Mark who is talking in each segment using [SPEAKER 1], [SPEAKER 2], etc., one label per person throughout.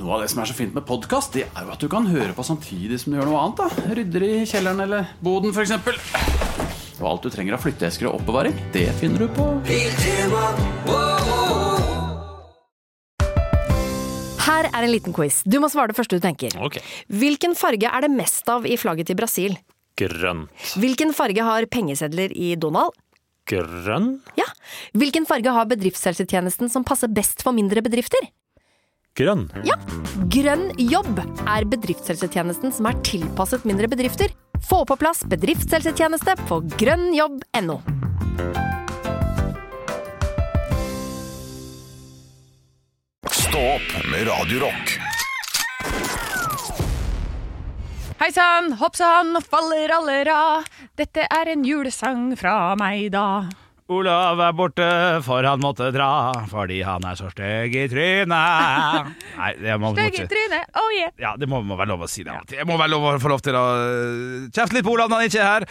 [SPEAKER 1] Noe av det som er så fint med podkast, det er jo at du kan høre på samtidig som du gjør noe annet. da Rydder i kjelleren eller boden, f.eks. Og alt du trenger av flytteesker og oppbevaring, det finner du på
[SPEAKER 2] Her er en liten quiz. Du må svare det første du tenker.
[SPEAKER 3] Ok.
[SPEAKER 2] Hvilken farge er det mest av i flagget til Brasil?
[SPEAKER 3] Grønn.
[SPEAKER 2] Hvilken farge har pengesedler i Donald?
[SPEAKER 3] Grønn?
[SPEAKER 2] Ja. Hvilken farge har bedriftshelsetjenesten som passer best for mindre bedrifter?
[SPEAKER 3] Grønn.
[SPEAKER 2] Ja. Grønn jobb er bedriftshelsetjenesten som er tilpasset mindre bedrifter. Få på plass bedriftshelsetjeneste på grønnjobb.no.
[SPEAKER 4] Stå opp med Radio Rock.
[SPEAKER 5] Hei sann, hopp sann, faller aller av. Dette er en julesang fra meg da.
[SPEAKER 6] Olav er borte, for han måtte dra, fordi han er så stygg i trynet. Nei, det må,
[SPEAKER 5] Stygg i trynet, oh yeah.
[SPEAKER 6] ja, det må, må være lov å si det. Jeg må være lov å få lov til å øh, kjefte litt på Olav når han ikke er her.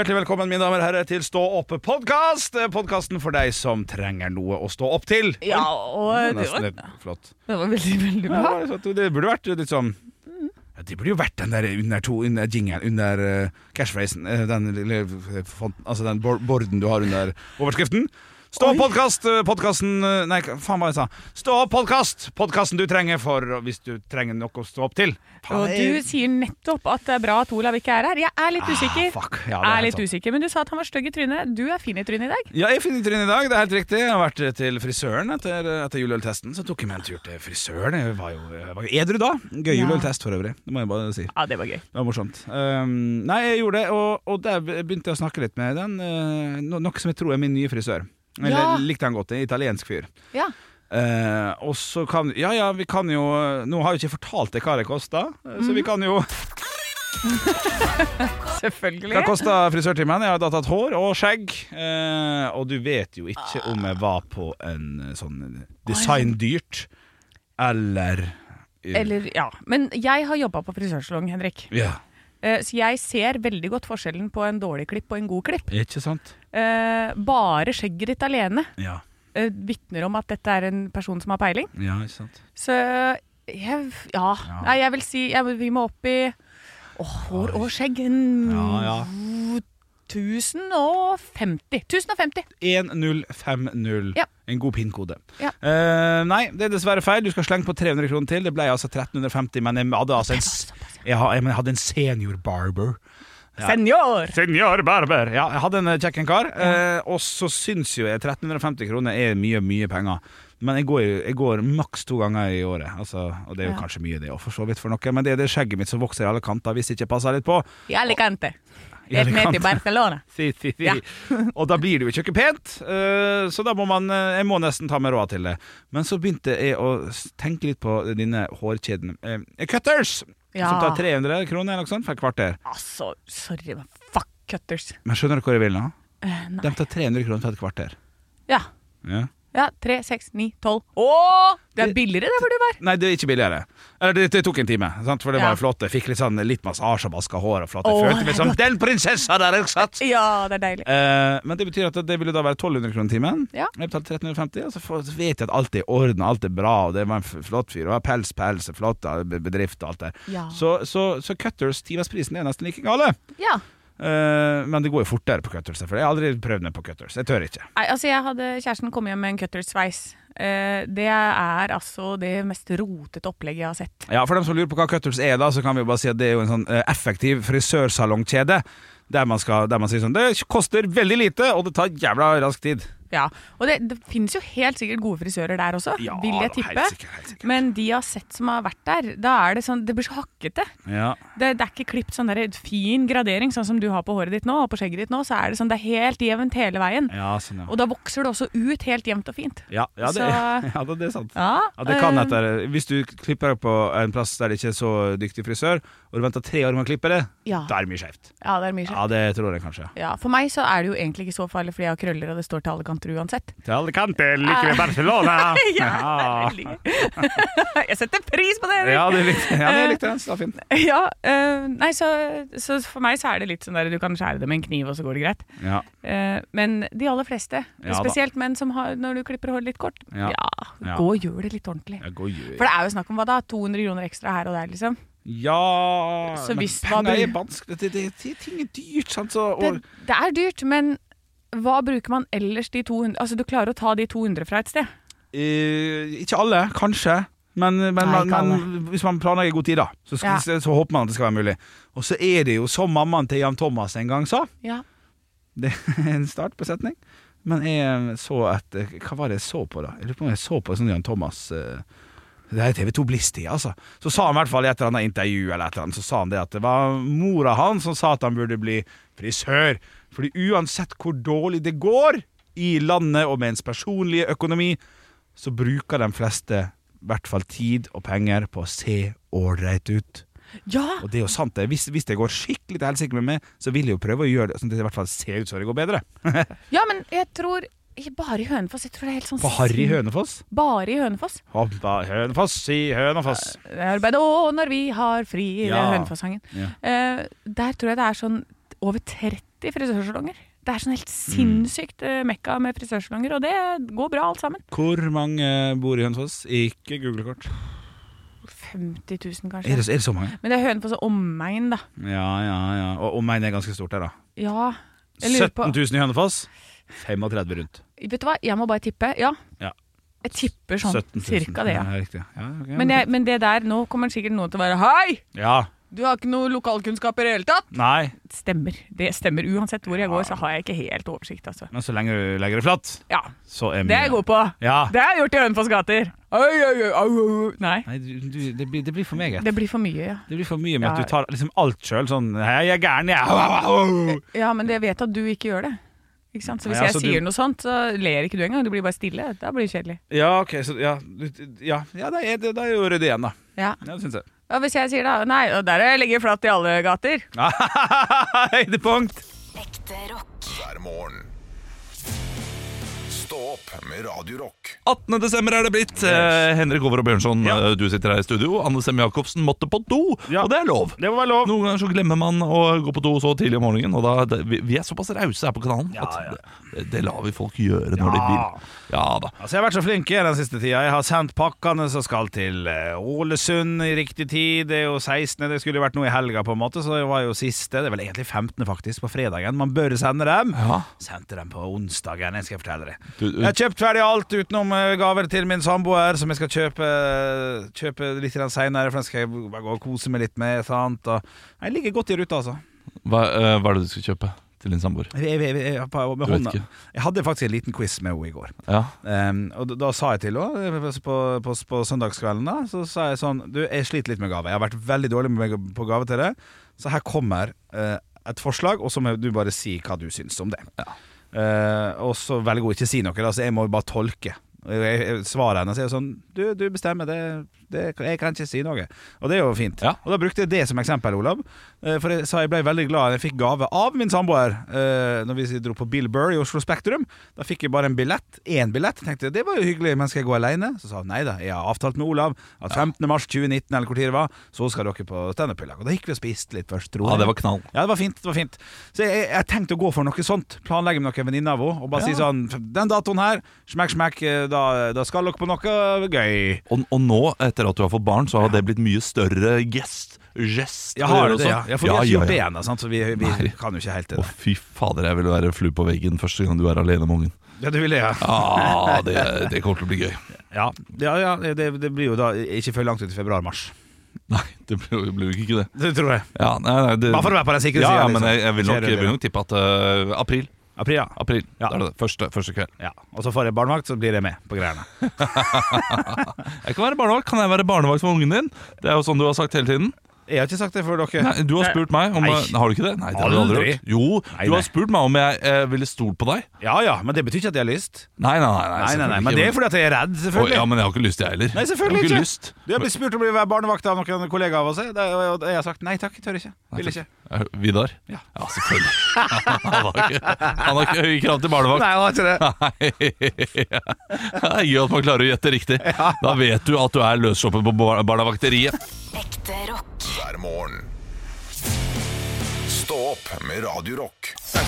[SPEAKER 6] Hjertelig velkommen, mine damer og herrer, til Stå opp-podkast. Podkasten for deg som trenger noe å stå opp til.
[SPEAKER 5] Ja, og
[SPEAKER 6] Det
[SPEAKER 5] det
[SPEAKER 6] var
[SPEAKER 5] var,
[SPEAKER 6] nesten litt flott.
[SPEAKER 5] det var veldig, veldig
[SPEAKER 6] Ja,
[SPEAKER 5] bra.
[SPEAKER 6] så at det burde vært litt sånn ja, Det burde jo vært den der under to Under jingelen, under eh, cashphrasen eh, Den lille eh, fonten Altså den bor- borden du har under overskriften Stå podcast, eh, podcasten eh, Nei, hva faen hva jeg sa Stå podcast, podcasten du trenger for Hvis du trenger noe å stå opp til Faen,
[SPEAKER 5] Og du
[SPEAKER 6] jeg-
[SPEAKER 5] sier nettopp at det er bra at Olav ikke er her. Jeg er litt usikker.
[SPEAKER 6] Ah, fuck. Ja, det er
[SPEAKER 5] er litt
[SPEAKER 6] sant.
[SPEAKER 5] usikker, Men du sa at han var stygg i trynet. Du er fin i trynet i dag.
[SPEAKER 6] Ja, jeg finner trinn i dag, det er helt riktig Jeg har vært eh, til frisøren etter, etter juleøltesten Så tok jeg med en tur til frisøren Jeg var jo, jeg var jo edru da Gøy
[SPEAKER 5] Ja.
[SPEAKER 6] juleøltest for øvrig, det må jeg bare si
[SPEAKER 5] Ja, det var gøy.
[SPEAKER 6] Det var morsomt. Ehm, nei, jeg gjorde det, og, og der begynte jeg å snakke litt med den. eh, no, noe som jeg tror er min nye frisør. Eller
[SPEAKER 5] Ja.
[SPEAKER 6] likte han godt. En italiensk fyr.
[SPEAKER 5] Ja.
[SPEAKER 6] Eh, og så kan Ja ja, vi kan jo Nå har jeg ikke fortalt deg hva det kosta, eh, så
[SPEAKER 5] Mhm.
[SPEAKER 6] vi kan jo Hva
[SPEAKER 5] Selvfølgelig.
[SPEAKER 6] kosta frisørtimen? Jeg har da tatt hår og skjegg. eh, og du vet jo ikke om jeg var på en eh, sånn designdyrt eller eh,
[SPEAKER 5] Eller, ja. Men jeg har jobba på frisørsalong, Henrik.
[SPEAKER 6] Ja,
[SPEAKER 5] Eh, Så jeg ser veldig godt forskjellen på en dårlig klipp og en god klipp.
[SPEAKER 6] ikke sant?
[SPEAKER 5] Eh, Bare skjegget ditt alene
[SPEAKER 6] Ja,
[SPEAKER 5] eh, vitner om at dette er en person som har peiling.
[SPEAKER 6] ja ikke sant?
[SPEAKER 5] Så jeg, ja. Nei, jeg vil si jeg, vi må opp i Å, hår og skjegg. en-
[SPEAKER 6] Ja, ja.
[SPEAKER 5] 1050. 1050.
[SPEAKER 6] 1050.
[SPEAKER 5] Ja.
[SPEAKER 6] En god PIN-kode.
[SPEAKER 5] Ja.
[SPEAKER 6] Eh, nei, det er dessverre feil. Du skal slenge på 300 kroner til. Det ble altså 1350, men jeg hadde altså en, jeg, ha- jeg, men jeg hadde en senior barber.
[SPEAKER 5] Senor!
[SPEAKER 6] Senior barber! Ja, jeg hadde en eh, kjekken kar. Eh, og så syns jo jeg 1350 kroner er mye, mye penger. Men jeg går, jeg går maks to ganger i året, altså, og det er jo
[SPEAKER 5] Ja.
[SPEAKER 6] kanskje mye det, og for så vidt for noe. Men det er det skjegget mitt som vokser i alle kanter hvis jeg ikke passer litt på.
[SPEAKER 5] I Alicante.
[SPEAKER 6] I
[SPEAKER 5] Helt ned
[SPEAKER 6] Alicante.
[SPEAKER 5] til Barcelona.
[SPEAKER 6] Si, si, si.
[SPEAKER 5] Ja.
[SPEAKER 6] og da blir det jo ikke pent, eh, så da må man eh, Jeg må nesten ta meg råd til det. Men så begynte jeg å s- tenke litt på denne hårkjeden. Eh, Cutters!
[SPEAKER 5] Ja.
[SPEAKER 6] Som tar 300 kroner eller noe sånt for et kvarter.
[SPEAKER 5] Altså, sorry, men fuck cutters.
[SPEAKER 6] Men skjønner du hvor jeg vil nå?
[SPEAKER 5] Eh, nei.
[SPEAKER 6] De tar 300 kroner for et kvarter.
[SPEAKER 5] Ja.
[SPEAKER 6] Ja.
[SPEAKER 5] ja. 3, 6, 9, 12. Å! Det er
[SPEAKER 6] Det-
[SPEAKER 5] billigere der hvor du var.
[SPEAKER 6] Nei, det er ikke billigere. Eller det, det tok en time, sant? for det
[SPEAKER 5] Ja.
[SPEAKER 6] var jo flott. Jeg fikk litt sånn litt massasje og vaska hår og flott. Jeg
[SPEAKER 5] Åh,
[SPEAKER 6] følte meg som den prinsessa der jeg satt!
[SPEAKER 5] Ja, det er deilig.
[SPEAKER 6] Eh, men det betyr at det ville da være 1200 kroner timen.
[SPEAKER 5] Ja.
[SPEAKER 6] Jeg betalte 1350, og så, får, så vet jeg at alt er i orden, alt er bra, og det var en f- flott fyr. Og har pels, pels, og flott ja, be- bedrift og alt det.
[SPEAKER 5] Ja.
[SPEAKER 6] Så, så, så Cutters timesprisen er nesten like gale.
[SPEAKER 5] Ja.
[SPEAKER 6] Eh, men det går jo fortere på Cutters, selvfølgelig. Jeg har aldri prøvd meg på Cutters. Jeg tør ikke.
[SPEAKER 5] Nei, altså jeg hadde Kjæresten kom hjem med en cuttersveis. Eh, det er altså det mest rotete opplegget jeg har sett.
[SPEAKER 6] Ja, For dem som lurer på hva Cutters er, da, så kan vi jo bare si at det er jo en sånn eh, effektiv frisørsalongkjede. Der man, skal, der man sier sånn Det koster veldig lite, og det tar jævla rask tid.
[SPEAKER 5] Ja, Og det, det finnes jo helt sikkert gode frisører der også,
[SPEAKER 6] Ja,
[SPEAKER 5] vil jeg
[SPEAKER 6] da, helt
[SPEAKER 5] tippe.
[SPEAKER 6] sikkert, helt sikkert.
[SPEAKER 5] Men de jeg har sett som har vært der, da er det sånn Det blir så hakkete.
[SPEAKER 6] Ja.
[SPEAKER 5] Det, det er ikke klipt sånn der fin gradering, sånn som du har på håret ditt nå og på skjegget ditt nå. Så er det sånn, det er helt jevnt hele veien.
[SPEAKER 6] Ja, sånn, ja.
[SPEAKER 5] Og da vokser det også ut helt jevnt og fint.
[SPEAKER 6] Ja, ja, det,
[SPEAKER 5] Så-
[SPEAKER 6] ja, det er sant.
[SPEAKER 5] Ja,
[SPEAKER 6] Ja, det kan
[SPEAKER 5] eh,
[SPEAKER 6] etter Hvis du klipper deg på en plass der det ikke er så dyktig frisør, og du venter tre år med å klippe det,
[SPEAKER 5] eh, Ja.
[SPEAKER 6] da er det mye skjevt.
[SPEAKER 5] ja, det er mye skjønt.
[SPEAKER 6] Ja, det tror jeg kanskje.
[SPEAKER 5] Ja, for meg så er det jo egentlig ikke så farlig, fordi jeg har krøller og det står til alle Alicanter uansett.
[SPEAKER 6] Til Alicante liker vi Barcelona!
[SPEAKER 5] Ja, det er veldig gøy. Jeg setter pris på det! Henrik.
[SPEAKER 6] Ja, det likte ja, det likte jeg. Så det var fint.
[SPEAKER 5] Ja, eh, nei, så, så for meg så er det litt sånn der du kan skjære det med en kniv, og så går det greit.
[SPEAKER 6] Ja.
[SPEAKER 5] Eh, men de aller fleste,
[SPEAKER 6] Ja da.
[SPEAKER 5] spesielt menn som har, når du klipper håret litt kort,
[SPEAKER 6] Ja.
[SPEAKER 5] ja,
[SPEAKER 6] Ja.
[SPEAKER 5] gå og gjør det litt ordentlig.
[SPEAKER 6] Jeg går jo
[SPEAKER 5] For det er jo snakk om hva da? 200 kroner ekstra her og der, liksom.
[SPEAKER 6] Ja
[SPEAKER 5] Så hvis
[SPEAKER 6] men penger
[SPEAKER 5] man-
[SPEAKER 6] er vanskelig. Det, det, det, ting er dyrt, sant. Så,
[SPEAKER 5] Det,
[SPEAKER 6] og,
[SPEAKER 5] det er dyrt, men hva bruker man ellers de 200 Altså, du klarer å ta de 200 fra et sted.
[SPEAKER 6] eh, ikke alle, kanskje. Men, men,
[SPEAKER 5] Nei, ikke
[SPEAKER 6] men, men hvis man planlegger i god tid, da, så, skal,
[SPEAKER 5] Ja.
[SPEAKER 6] så, så håper man at det skal være mulig. Og så er det jo som mammaen til Jan Thomas en gang sa,
[SPEAKER 5] Ja.
[SPEAKER 6] det er en start på setning. Men jeg så et Hva var det jeg så på, da? Jeg lurer på om jeg så på sånn Jan Thomas eh, Det er TV2 Bliss-tid, altså. Så sa han i hvert fall i et eller annet intervju eller et eller annet, så sa han det at det var mora hans som sa at han burde bli frisør. Fordi uansett hvor dårlig det går i landet og med ens personlige økonomi, så bruker de fleste i hvert fall tid og penger på å se ålreit ut.
[SPEAKER 5] ja!
[SPEAKER 6] Og det er jo sant, det. Hvis, hvis det går skikkelig til helsike med meg, så vil jeg jo prøve å gjøre det sånn at det i hvert fall ser ut som det går bedre.
[SPEAKER 5] Ja, men jeg tror ikke Bare i Hønefoss. Jeg tror det er helt sånn
[SPEAKER 6] På Harry
[SPEAKER 5] sin-
[SPEAKER 6] Hønefoss.
[SPEAKER 5] Bare i Hønefoss.
[SPEAKER 6] Hoppa Hønefoss i Hønefoss.
[SPEAKER 5] Arbeid å, når vi har fri. Det
[SPEAKER 6] Ja.
[SPEAKER 5] er Hønefoss-sangen.
[SPEAKER 6] Ja.
[SPEAKER 5] Eh, der tror jeg det er sånn over 30 frisørsalonger. Det er sånn helt sinnssykt eh, mekka med frisørsalonger, og det går bra alt sammen.
[SPEAKER 6] Hvor mange bor i Hønefoss? Ikke googlekort.
[SPEAKER 5] 50 000,
[SPEAKER 6] Er
[SPEAKER 5] kanskje.
[SPEAKER 6] det, er det så mange?
[SPEAKER 5] Men det er Hønefoss og omegn, da.
[SPEAKER 6] Ja, ja, ja. Og omegn er ganske stort der, da.
[SPEAKER 5] Ja.
[SPEAKER 6] 17
[SPEAKER 5] Jeg lurer på
[SPEAKER 6] 000 i Hønefoss. 35 rundt.
[SPEAKER 5] Vet du hva, jeg må bare tippe. Ja.
[SPEAKER 6] Ja.
[SPEAKER 5] Jeg tipper sånn
[SPEAKER 6] 17 000.
[SPEAKER 5] cirka det, ja.
[SPEAKER 6] ja riktig. Ja, ok, ja,
[SPEAKER 5] Men, jeg, men det der, nå kommer sikkert noen til å være Hei!
[SPEAKER 6] ja.
[SPEAKER 5] Du har ikke noe lokalkunnskap i det hele tatt!
[SPEAKER 6] Nei,
[SPEAKER 5] Stemmer. Det stemmer. Uansett hvor jeg
[SPEAKER 6] Ja.
[SPEAKER 5] går, så har jeg ikke helt oversikt, altså.
[SPEAKER 6] men så lenge du legger det flatt,
[SPEAKER 5] Ja.
[SPEAKER 6] så er
[SPEAKER 5] Det er jeg god på.
[SPEAKER 6] Ja.
[SPEAKER 5] Det har jeg gjort i Hønefoss gater. Oi, oi, oi, au, au, au. Nei.
[SPEAKER 6] Nei, du, du, det, blir, det blir for meget.
[SPEAKER 5] Det blir for mye, ja.
[SPEAKER 6] Det blir for mye med at
[SPEAKER 5] Ja.
[SPEAKER 6] du tar liksom alt sjøl. Sånn Hei, jeg er gæren, jeg. Au, au, au.
[SPEAKER 5] Ja, men jeg vet at du ikke gjør det. Ikke sant? Så hvis
[SPEAKER 6] Nei,
[SPEAKER 5] jeg
[SPEAKER 6] altså, du-
[SPEAKER 5] sier noe sånt, så ler ikke du engang. Du blir bare stille. Da blir det kjedelig.
[SPEAKER 6] Ja, OK, så Ja, du- ja, ja da er det da er jo ryddig igjen, da.
[SPEAKER 5] Ja.
[SPEAKER 6] Ja, det syns jeg.
[SPEAKER 5] Og hvis jeg sier da Nei, og der har jeg ligget flatt i alle gater.
[SPEAKER 6] Høydepunkt!
[SPEAKER 7] Ekte rock.
[SPEAKER 4] hver morgen. Stå opp med Radio Rock.
[SPEAKER 8] 18. desember er det blitt. Eh, Henrik Over og Bjørnson, eh, du sitter her i studio. Anne Semme Jacobsen måtte på do,
[SPEAKER 6] Ja.
[SPEAKER 8] og det er lov.
[SPEAKER 6] Det må være lov.
[SPEAKER 8] Noen ganger så glemmer man å gå på do så tidlig om morgenen, og da, det, vi- vi er såpass rause her på kanalen at det, det lar vi folk gjøre når de
[SPEAKER 6] Ja.
[SPEAKER 8] vil. Ja da.
[SPEAKER 6] Altså, jeg har vært så flink jeg den siste tida. Jeg har sendt pakkene som skal til eh, Ålesund i riktig tid. Det er jo 16. Det skulle jo vært noe i helga, på en måte, så det var jo siste. Det er vel egentlig 15. faktisk, på fredagen. Man bør sende dem.
[SPEAKER 8] Ja.
[SPEAKER 6] Sendte dem på onsdagen, jeg skal fortelle dere.
[SPEAKER 8] Du-
[SPEAKER 6] Jeg har kjøpt ferdig alt utenom eh, gaver til min samboer, som jeg skal kjøpe, kjøpe litt seinere, for den skal jeg bare gå og kose meg litt med. Sant? Og jeg ligger godt i ruta, altså.
[SPEAKER 8] Hva, eh, hva er det du skal kjøpe til din samboer?
[SPEAKER 6] Jeg, jeg, jeg, jeg, på- med
[SPEAKER 8] Du vet
[SPEAKER 6] hånda.
[SPEAKER 8] ikke.
[SPEAKER 6] jeg hadde faktisk en liten quiz med henne i går.
[SPEAKER 8] Ja.
[SPEAKER 6] Ehm, og da, da sa jeg til henne eh, på, på, på søndagskvelden da, Så sa jeg sånn Du, jeg sliter litt med gave. Jeg har vært veldig dårlig med, på gave til deg. Så her kommer eh, et forslag, og så må du bare si hva du syns om det. Eh, og så velger hun ikke å si noe, da, så jeg må jo bare tolke. Og Jeg, jeg, svaret hennes er jo sånn Du, du bestemmer, det, det Jeg kan ikke si noe. Og det er jo fint.
[SPEAKER 8] Ja.
[SPEAKER 6] Og da brukte jeg det som eksempel, Olav. Eh, For jeg sa jeg ble veldig glad jeg fikk gave av min samboer eh, Når vi dro på Bill Burr i Oslo Spektrum. Da fikk jeg bare en billett. Én billett. Tenkte jeg, det var jo hyggelig, men skal jeg gå alene? Så sa hun nei da, jeg har avtalt med Olav at 15. mars 2019 eller hvor tid det var, så skal dere på standup i lag. Og da gikk vi og spiste litt først, tror
[SPEAKER 8] ja,
[SPEAKER 6] jeg.
[SPEAKER 8] det var knall.
[SPEAKER 6] Ja, det var fint. det var fint Så jeg, jeg tenkte å gå for noe sånt. Planlegge med noen venninner av henne. Og bare si sånn Den datoen her, smekk, smekk, eh, da, da skal dere på noe gøy.
[SPEAKER 8] Og, og nå, etter at du har fått barn, så har det blitt mye større gest. Gest.
[SPEAKER 6] Jeg
[SPEAKER 8] å
[SPEAKER 6] har
[SPEAKER 8] gjøre
[SPEAKER 6] det,
[SPEAKER 8] også.
[SPEAKER 6] ja. ja for vi har ikke
[SPEAKER 8] ja,
[SPEAKER 6] gjort det
[SPEAKER 8] ja.
[SPEAKER 6] igjen, da, sant? så vi, vi
[SPEAKER 8] Nei.
[SPEAKER 6] kan jo ikke helt
[SPEAKER 8] Å,
[SPEAKER 6] det.
[SPEAKER 8] fy fader, jeg ville være flue på veggen første gang du er alene med ungen.
[SPEAKER 6] Ja, du ville, ja.
[SPEAKER 8] Ah, det, det kommer til å bli gøy.
[SPEAKER 6] Ja, ja, ja det, det blir jo da ikke før langt ut i februar-mars.
[SPEAKER 8] Nei, det blir jo- blir jo ikke det.
[SPEAKER 6] Det tror jeg.
[SPEAKER 8] Ja, nei, nei, det
[SPEAKER 6] Bare for å være på den sikre
[SPEAKER 8] ja,
[SPEAKER 6] siden,
[SPEAKER 8] ja,
[SPEAKER 6] liksom.
[SPEAKER 8] men jeg, jeg, vil nok,
[SPEAKER 6] Ser du
[SPEAKER 8] jeg
[SPEAKER 6] det?
[SPEAKER 8] vil nok tippe at øh, april.
[SPEAKER 6] April, ja.
[SPEAKER 8] April,
[SPEAKER 6] Ja.
[SPEAKER 8] det er det. Første, første kveld.
[SPEAKER 6] ja. Og så får jeg barnevakt, så blir jeg med på greiene.
[SPEAKER 8] Jeg kan være barnevakt. Kan jeg være barnevakt for ungen din? Det er jo sånn du har sagt hele tiden.
[SPEAKER 6] Jeg har ikke sagt det for dere.
[SPEAKER 8] Nei, du har
[SPEAKER 6] Nei.
[SPEAKER 8] spurt meg om
[SPEAKER 6] Nei.
[SPEAKER 8] jeg- Har du ikke det? Nei, det har du aldri
[SPEAKER 6] Aldri.
[SPEAKER 8] gjort. Jo,
[SPEAKER 6] Nei,
[SPEAKER 8] du
[SPEAKER 6] nei.
[SPEAKER 8] har spurt meg om jeg eh, ville stolt på deg.
[SPEAKER 6] Ja ja, men det betyr ikke at jeg har lyst.
[SPEAKER 8] Nei, nei, nei. nei,
[SPEAKER 6] Nei, nei, nei,
[SPEAKER 8] selvfølgelig
[SPEAKER 6] Men det
[SPEAKER 8] ikke.
[SPEAKER 6] er fordi at jeg er redd,
[SPEAKER 8] Å,
[SPEAKER 6] selvfølgelig.
[SPEAKER 8] Ja, men jeg har ikke lyst, jeg heller.
[SPEAKER 6] Nei, selvfølgelig
[SPEAKER 8] jeg har ikke.
[SPEAKER 6] ikke.
[SPEAKER 8] Lyst.
[SPEAKER 6] Du har blitt spurt om å være barnevakt av noen kollegaer av oss, og jeg har sagt nei takk, jeg tør ikke. Vil ikke.
[SPEAKER 8] Eh, Vidar?
[SPEAKER 6] Ja.
[SPEAKER 8] selvfølgelig. han, har ikke, han har ikke høye krav til barnevakt.
[SPEAKER 6] Nei, jeg har ikke det.
[SPEAKER 8] Nei. Det er gøy at man klarer å gjette riktig. Da vet du at du er løsshoppen på bar- barnevakteriet.
[SPEAKER 7] Ekte rock.
[SPEAKER 4] hver morgen. Stå opp med Radio Rock.
[SPEAKER 9] I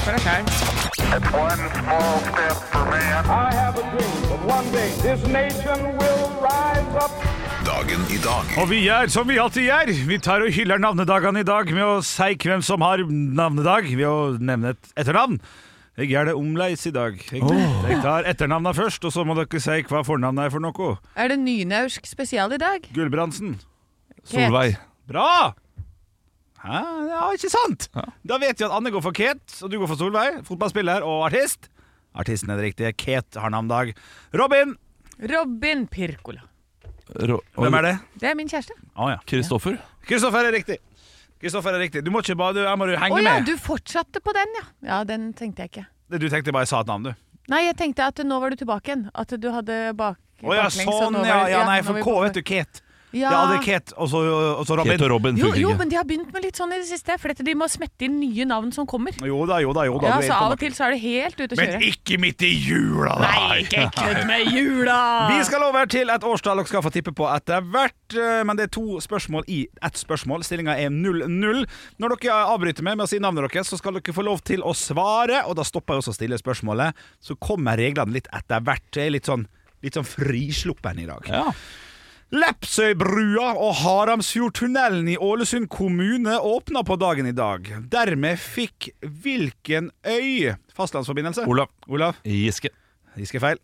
[SPEAKER 9] have a dream that one day this nation will rise up.
[SPEAKER 4] Dagen i dag
[SPEAKER 6] Og vi gjør som vi alltid gjør. Vi tar og hyller navnedagene i dag med å si hvem som har navnedag, ved å nevne et etternavn. Jeg gjør det omleis i dag. Jeg, jeg tar etternavna først, og så må dere si hva fornavnet er for noe.
[SPEAKER 5] Er det nynaursk spesial i dag?
[SPEAKER 6] Gulbrandsen.
[SPEAKER 8] Solveig.
[SPEAKER 6] Bra! Hæ? Ja, ikke sant? Da vet vi at Anne går for Ket, og du går for Solveig. Fotballspiller og artist. Artisten er det riktige. Ket har navnedag. Robin!
[SPEAKER 5] Robin Pirkola.
[SPEAKER 8] Ro-
[SPEAKER 6] Hvem er det?
[SPEAKER 5] Det er min kjæreste.
[SPEAKER 6] Å ja.
[SPEAKER 8] Kristoffer.
[SPEAKER 6] Kristoffer er riktig. Kristoffer er riktig. Du må ikke bare du, her må du
[SPEAKER 5] Å
[SPEAKER 6] henge
[SPEAKER 5] ja,
[SPEAKER 6] med.
[SPEAKER 5] du fortsatte på den, ja. Ja, den tenkte jeg ikke.
[SPEAKER 6] Du tenkte bare jeg sa et navn, du.
[SPEAKER 5] Nei, jeg tenkte at nå var du tilbake igjen. At du hadde bak...
[SPEAKER 6] Å ja,
[SPEAKER 5] baklengs, og
[SPEAKER 6] sånn,
[SPEAKER 5] nå var
[SPEAKER 6] ja,
[SPEAKER 5] du-
[SPEAKER 6] ja. Nei,
[SPEAKER 5] nå
[SPEAKER 6] for
[SPEAKER 5] var
[SPEAKER 6] K,
[SPEAKER 5] vi
[SPEAKER 6] vet du.
[SPEAKER 5] på-
[SPEAKER 6] Kate. Det
[SPEAKER 5] Ja.
[SPEAKER 6] er aldri Kate, og så, og så Robin.
[SPEAKER 8] Kate og Robin
[SPEAKER 5] Jo,
[SPEAKER 8] funker
[SPEAKER 5] jo,
[SPEAKER 8] ikke.
[SPEAKER 5] men de har begynt med litt sånn i det siste, for dette, de må smette inn nye navn som kommer.
[SPEAKER 6] Jo da, jo da, jo da.
[SPEAKER 5] Ja,
[SPEAKER 6] du er
[SPEAKER 5] så
[SPEAKER 6] på
[SPEAKER 5] av
[SPEAKER 6] noe.
[SPEAKER 5] og til så er det helt ute å
[SPEAKER 6] Men
[SPEAKER 5] kjøre.
[SPEAKER 6] ikke midt i jula, da!
[SPEAKER 5] Nei, ikke kødd med jula!
[SPEAKER 6] Vi skal over til et årstall dere skal få tippe på etter hvert. eh, Men det er to spørsmål i ett spørsmål. Stillinga er 0-0. Når dere avbryter meg med å si navnet deres, så skal dere få lov til å svare. Og da stopper jeg også å stille spørsmålet. Så kommer reglene litt etter hvert. Jeg er litt sånn, litt sånn frisluppen i dag.
[SPEAKER 8] Ja.
[SPEAKER 6] Lepsøybrua og Haramsfjordtunnelen i Ålesund kommune åpna på dagen i dag. Dermed fikk hvilken øy fastlandsforbindelse?
[SPEAKER 8] Olav.
[SPEAKER 6] Olav.
[SPEAKER 8] Giske.
[SPEAKER 6] Giske feil.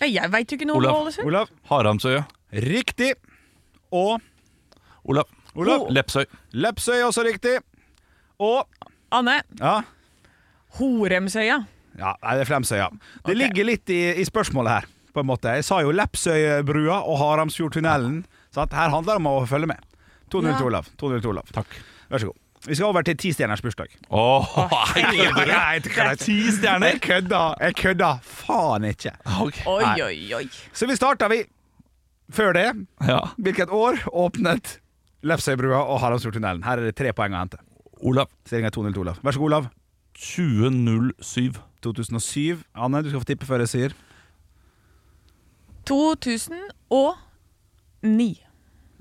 [SPEAKER 5] Nei, jeg veit jo ikke noe om
[SPEAKER 8] Olav.
[SPEAKER 5] Ålesund.
[SPEAKER 6] Olav.
[SPEAKER 8] Haramsøya.
[SPEAKER 6] Riktig. Og
[SPEAKER 8] Olav.
[SPEAKER 6] Olav.
[SPEAKER 8] Lepsøy.
[SPEAKER 6] Lepsøy også riktig. Og
[SPEAKER 5] Anne,
[SPEAKER 6] Ja.
[SPEAKER 5] Horemsøya.
[SPEAKER 6] ja nei, det er Flemsøya. Det ligger litt i, i spørsmålet her, på en måte. Jeg sa jo Lepsøybrua og Haramsfjordtunnelen. Så at her handler det om å følge med. 2-0
[SPEAKER 5] Ja.
[SPEAKER 6] til Olav. 2-0 til Olav.
[SPEAKER 8] Takk.
[SPEAKER 6] Vær så god. Vi skal over til tistjerners bursdag.
[SPEAKER 8] Åh,
[SPEAKER 6] Ja, jeg kødder ikke.
[SPEAKER 8] ti
[SPEAKER 6] Jeg kødda, jeg kødda faen ikke.
[SPEAKER 8] Ok.
[SPEAKER 5] Oi,
[SPEAKER 6] Nei.
[SPEAKER 5] oi, oi.
[SPEAKER 6] Så vi starta, vi. Før det,
[SPEAKER 8] Ja.
[SPEAKER 6] hvilket år åpnet Lepsøybrua og Haraldsfjordtunnelen? Her er det tre poeng å hente.
[SPEAKER 8] Olav.
[SPEAKER 6] Stillinga 2-0 til Olav. Vær så god, Olav.
[SPEAKER 8] 2007.
[SPEAKER 6] 2007. Anne, du skal få tippe før jeg sier.
[SPEAKER 5] 2009.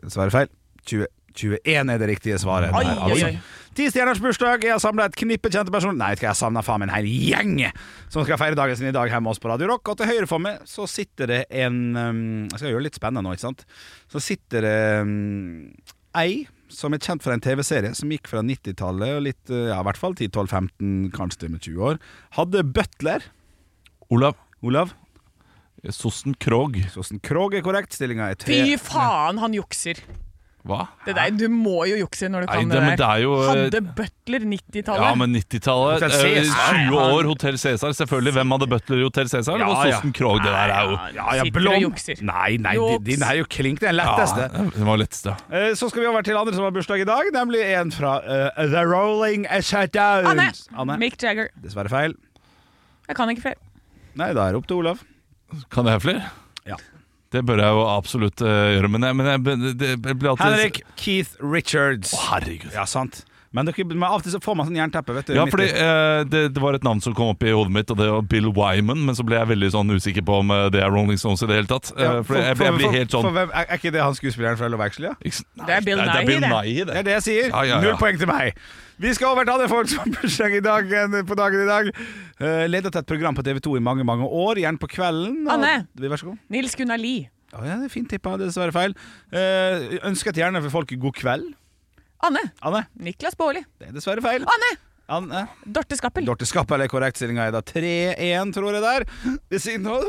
[SPEAKER 6] Svaret feil. 20, 21 er det riktige svaret.
[SPEAKER 5] Oi,
[SPEAKER 6] der,
[SPEAKER 5] oi,
[SPEAKER 6] altså.
[SPEAKER 5] oi.
[SPEAKER 6] Tistjerners bursdag. Jeg har samla et knippe kjente personer Nei, vet du hva, jeg samla faen meg en hel gjeng som skal feire dagen sin i dag hjemme hos oss på Radio Rock. Og til høyre for meg så sitter det en um, Jeg skal gjøre det litt spennende nå, ikke sant? Så sitter det um, ei som er kjent for en TV-serie som gikk fra 90-tallet og litt uh, Ja, i hvert fall 10-12-15, kanskje til og med 20 år. Hadde butler.
[SPEAKER 8] Olav.
[SPEAKER 6] Olav
[SPEAKER 8] Sosten Krog.
[SPEAKER 6] Sossen Krogh er korrekt. Stillinga er tre.
[SPEAKER 5] Fy faen, han jukser.
[SPEAKER 8] Hva?
[SPEAKER 5] Det der, du må jo jukse når du
[SPEAKER 8] Nei,
[SPEAKER 5] kan
[SPEAKER 8] det,
[SPEAKER 5] det,
[SPEAKER 8] men det
[SPEAKER 5] der.
[SPEAKER 8] er jo eh,
[SPEAKER 5] Hadde Butler 90-tallet?
[SPEAKER 8] Ja, men 90-tallet.
[SPEAKER 6] Hotel
[SPEAKER 8] eh,
[SPEAKER 6] Cæsar.
[SPEAKER 8] 20 år, Hotell Cæsar. Selvfølgelig. Hvem hadde butler i Hotell Cæsar? det
[SPEAKER 6] Ja,
[SPEAKER 8] var
[SPEAKER 6] ja.
[SPEAKER 8] Sosten Krog. Det der er jo
[SPEAKER 5] Nei,
[SPEAKER 6] Ja, ja,
[SPEAKER 5] Sitter
[SPEAKER 6] blond.
[SPEAKER 5] og jukser.
[SPEAKER 6] Nei, nei,
[SPEAKER 5] Juks.
[SPEAKER 6] din er jo klink den letteste.
[SPEAKER 8] ja, Det var letteste.
[SPEAKER 6] Eh, Så skal vi over til andre som har bursdag i dag, nemlig en fra eh, The Rolling
[SPEAKER 5] Anne.
[SPEAKER 6] Shutdowns. Anne.
[SPEAKER 5] Mick Jagger.
[SPEAKER 6] Dessverre feil.
[SPEAKER 5] Jeg kan ikke flere.
[SPEAKER 6] Nei, da er det opp til Olav.
[SPEAKER 8] Kan jeg ha flere?
[SPEAKER 6] Ja.
[SPEAKER 8] Det bør jeg jo absolutt eh, gjøre, men jeg, men jeg, det- det blir alltid
[SPEAKER 6] Henrik Keith Richards.
[SPEAKER 8] Å, herregud.
[SPEAKER 6] Ja, sant. Men, dere, men av og til så får man sånn jernteppe, vet du.
[SPEAKER 8] Ja,
[SPEAKER 6] midt
[SPEAKER 8] fordi
[SPEAKER 6] i.
[SPEAKER 8] eh, det, det var et navn som kom opp i hodet mitt, og det var Bill Wyman. Men så ble jeg veldig sånn usikker på om eh, det er Rolling Stones i det hele tatt. Eh,
[SPEAKER 6] Ja,
[SPEAKER 8] fordi jeg, jeg blir helt sånn
[SPEAKER 6] for hvem- Er er ikke det han skuespilleren fra Love Actually, ja?
[SPEAKER 8] Ikke s- Nei,
[SPEAKER 5] Det er Bill
[SPEAKER 8] det.
[SPEAKER 5] Nighy, det.
[SPEAKER 8] Nighy,
[SPEAKER 6] Det er
[SPEAKER 8] det.
[SPEAKER 6] det jeg sier.
[SPEAKER 8] Ja, ja, ja.
[SPEAKER 6] Null poeng til meg. Vi skal over til andre folk som har bursdag i dag, enn på dagen i dag. Uh, ledet et program på TV 2 i mange, mange år, gjerne på kvelden. og-
[SPEAKER 5] Anne.
[SPEAKER 6] Vær så god.
[SPEAKER 5] Nils Gunnar Lie.
[SPEAKER 6] Ja, ja, det er Fint tippa, dessverre feil. Eh, ønsket gjerne for folk god kveld.
[SPEAKER 5] Anne.
[SPEAKER 6] Anne,
[SPEAKER 5] Niklas Baarli.
[SPEAKER 6] det er dessverre feil.
[SPEAKER 5] Anne!
[SPEAKER 6] Han, eh?
[SPEAKER 5] Dorte Skappel.
[SPEAKER 6] Dorte Skappel er korrekt. Stillinga er da 3-1, tror jeg der. Ved siden, av,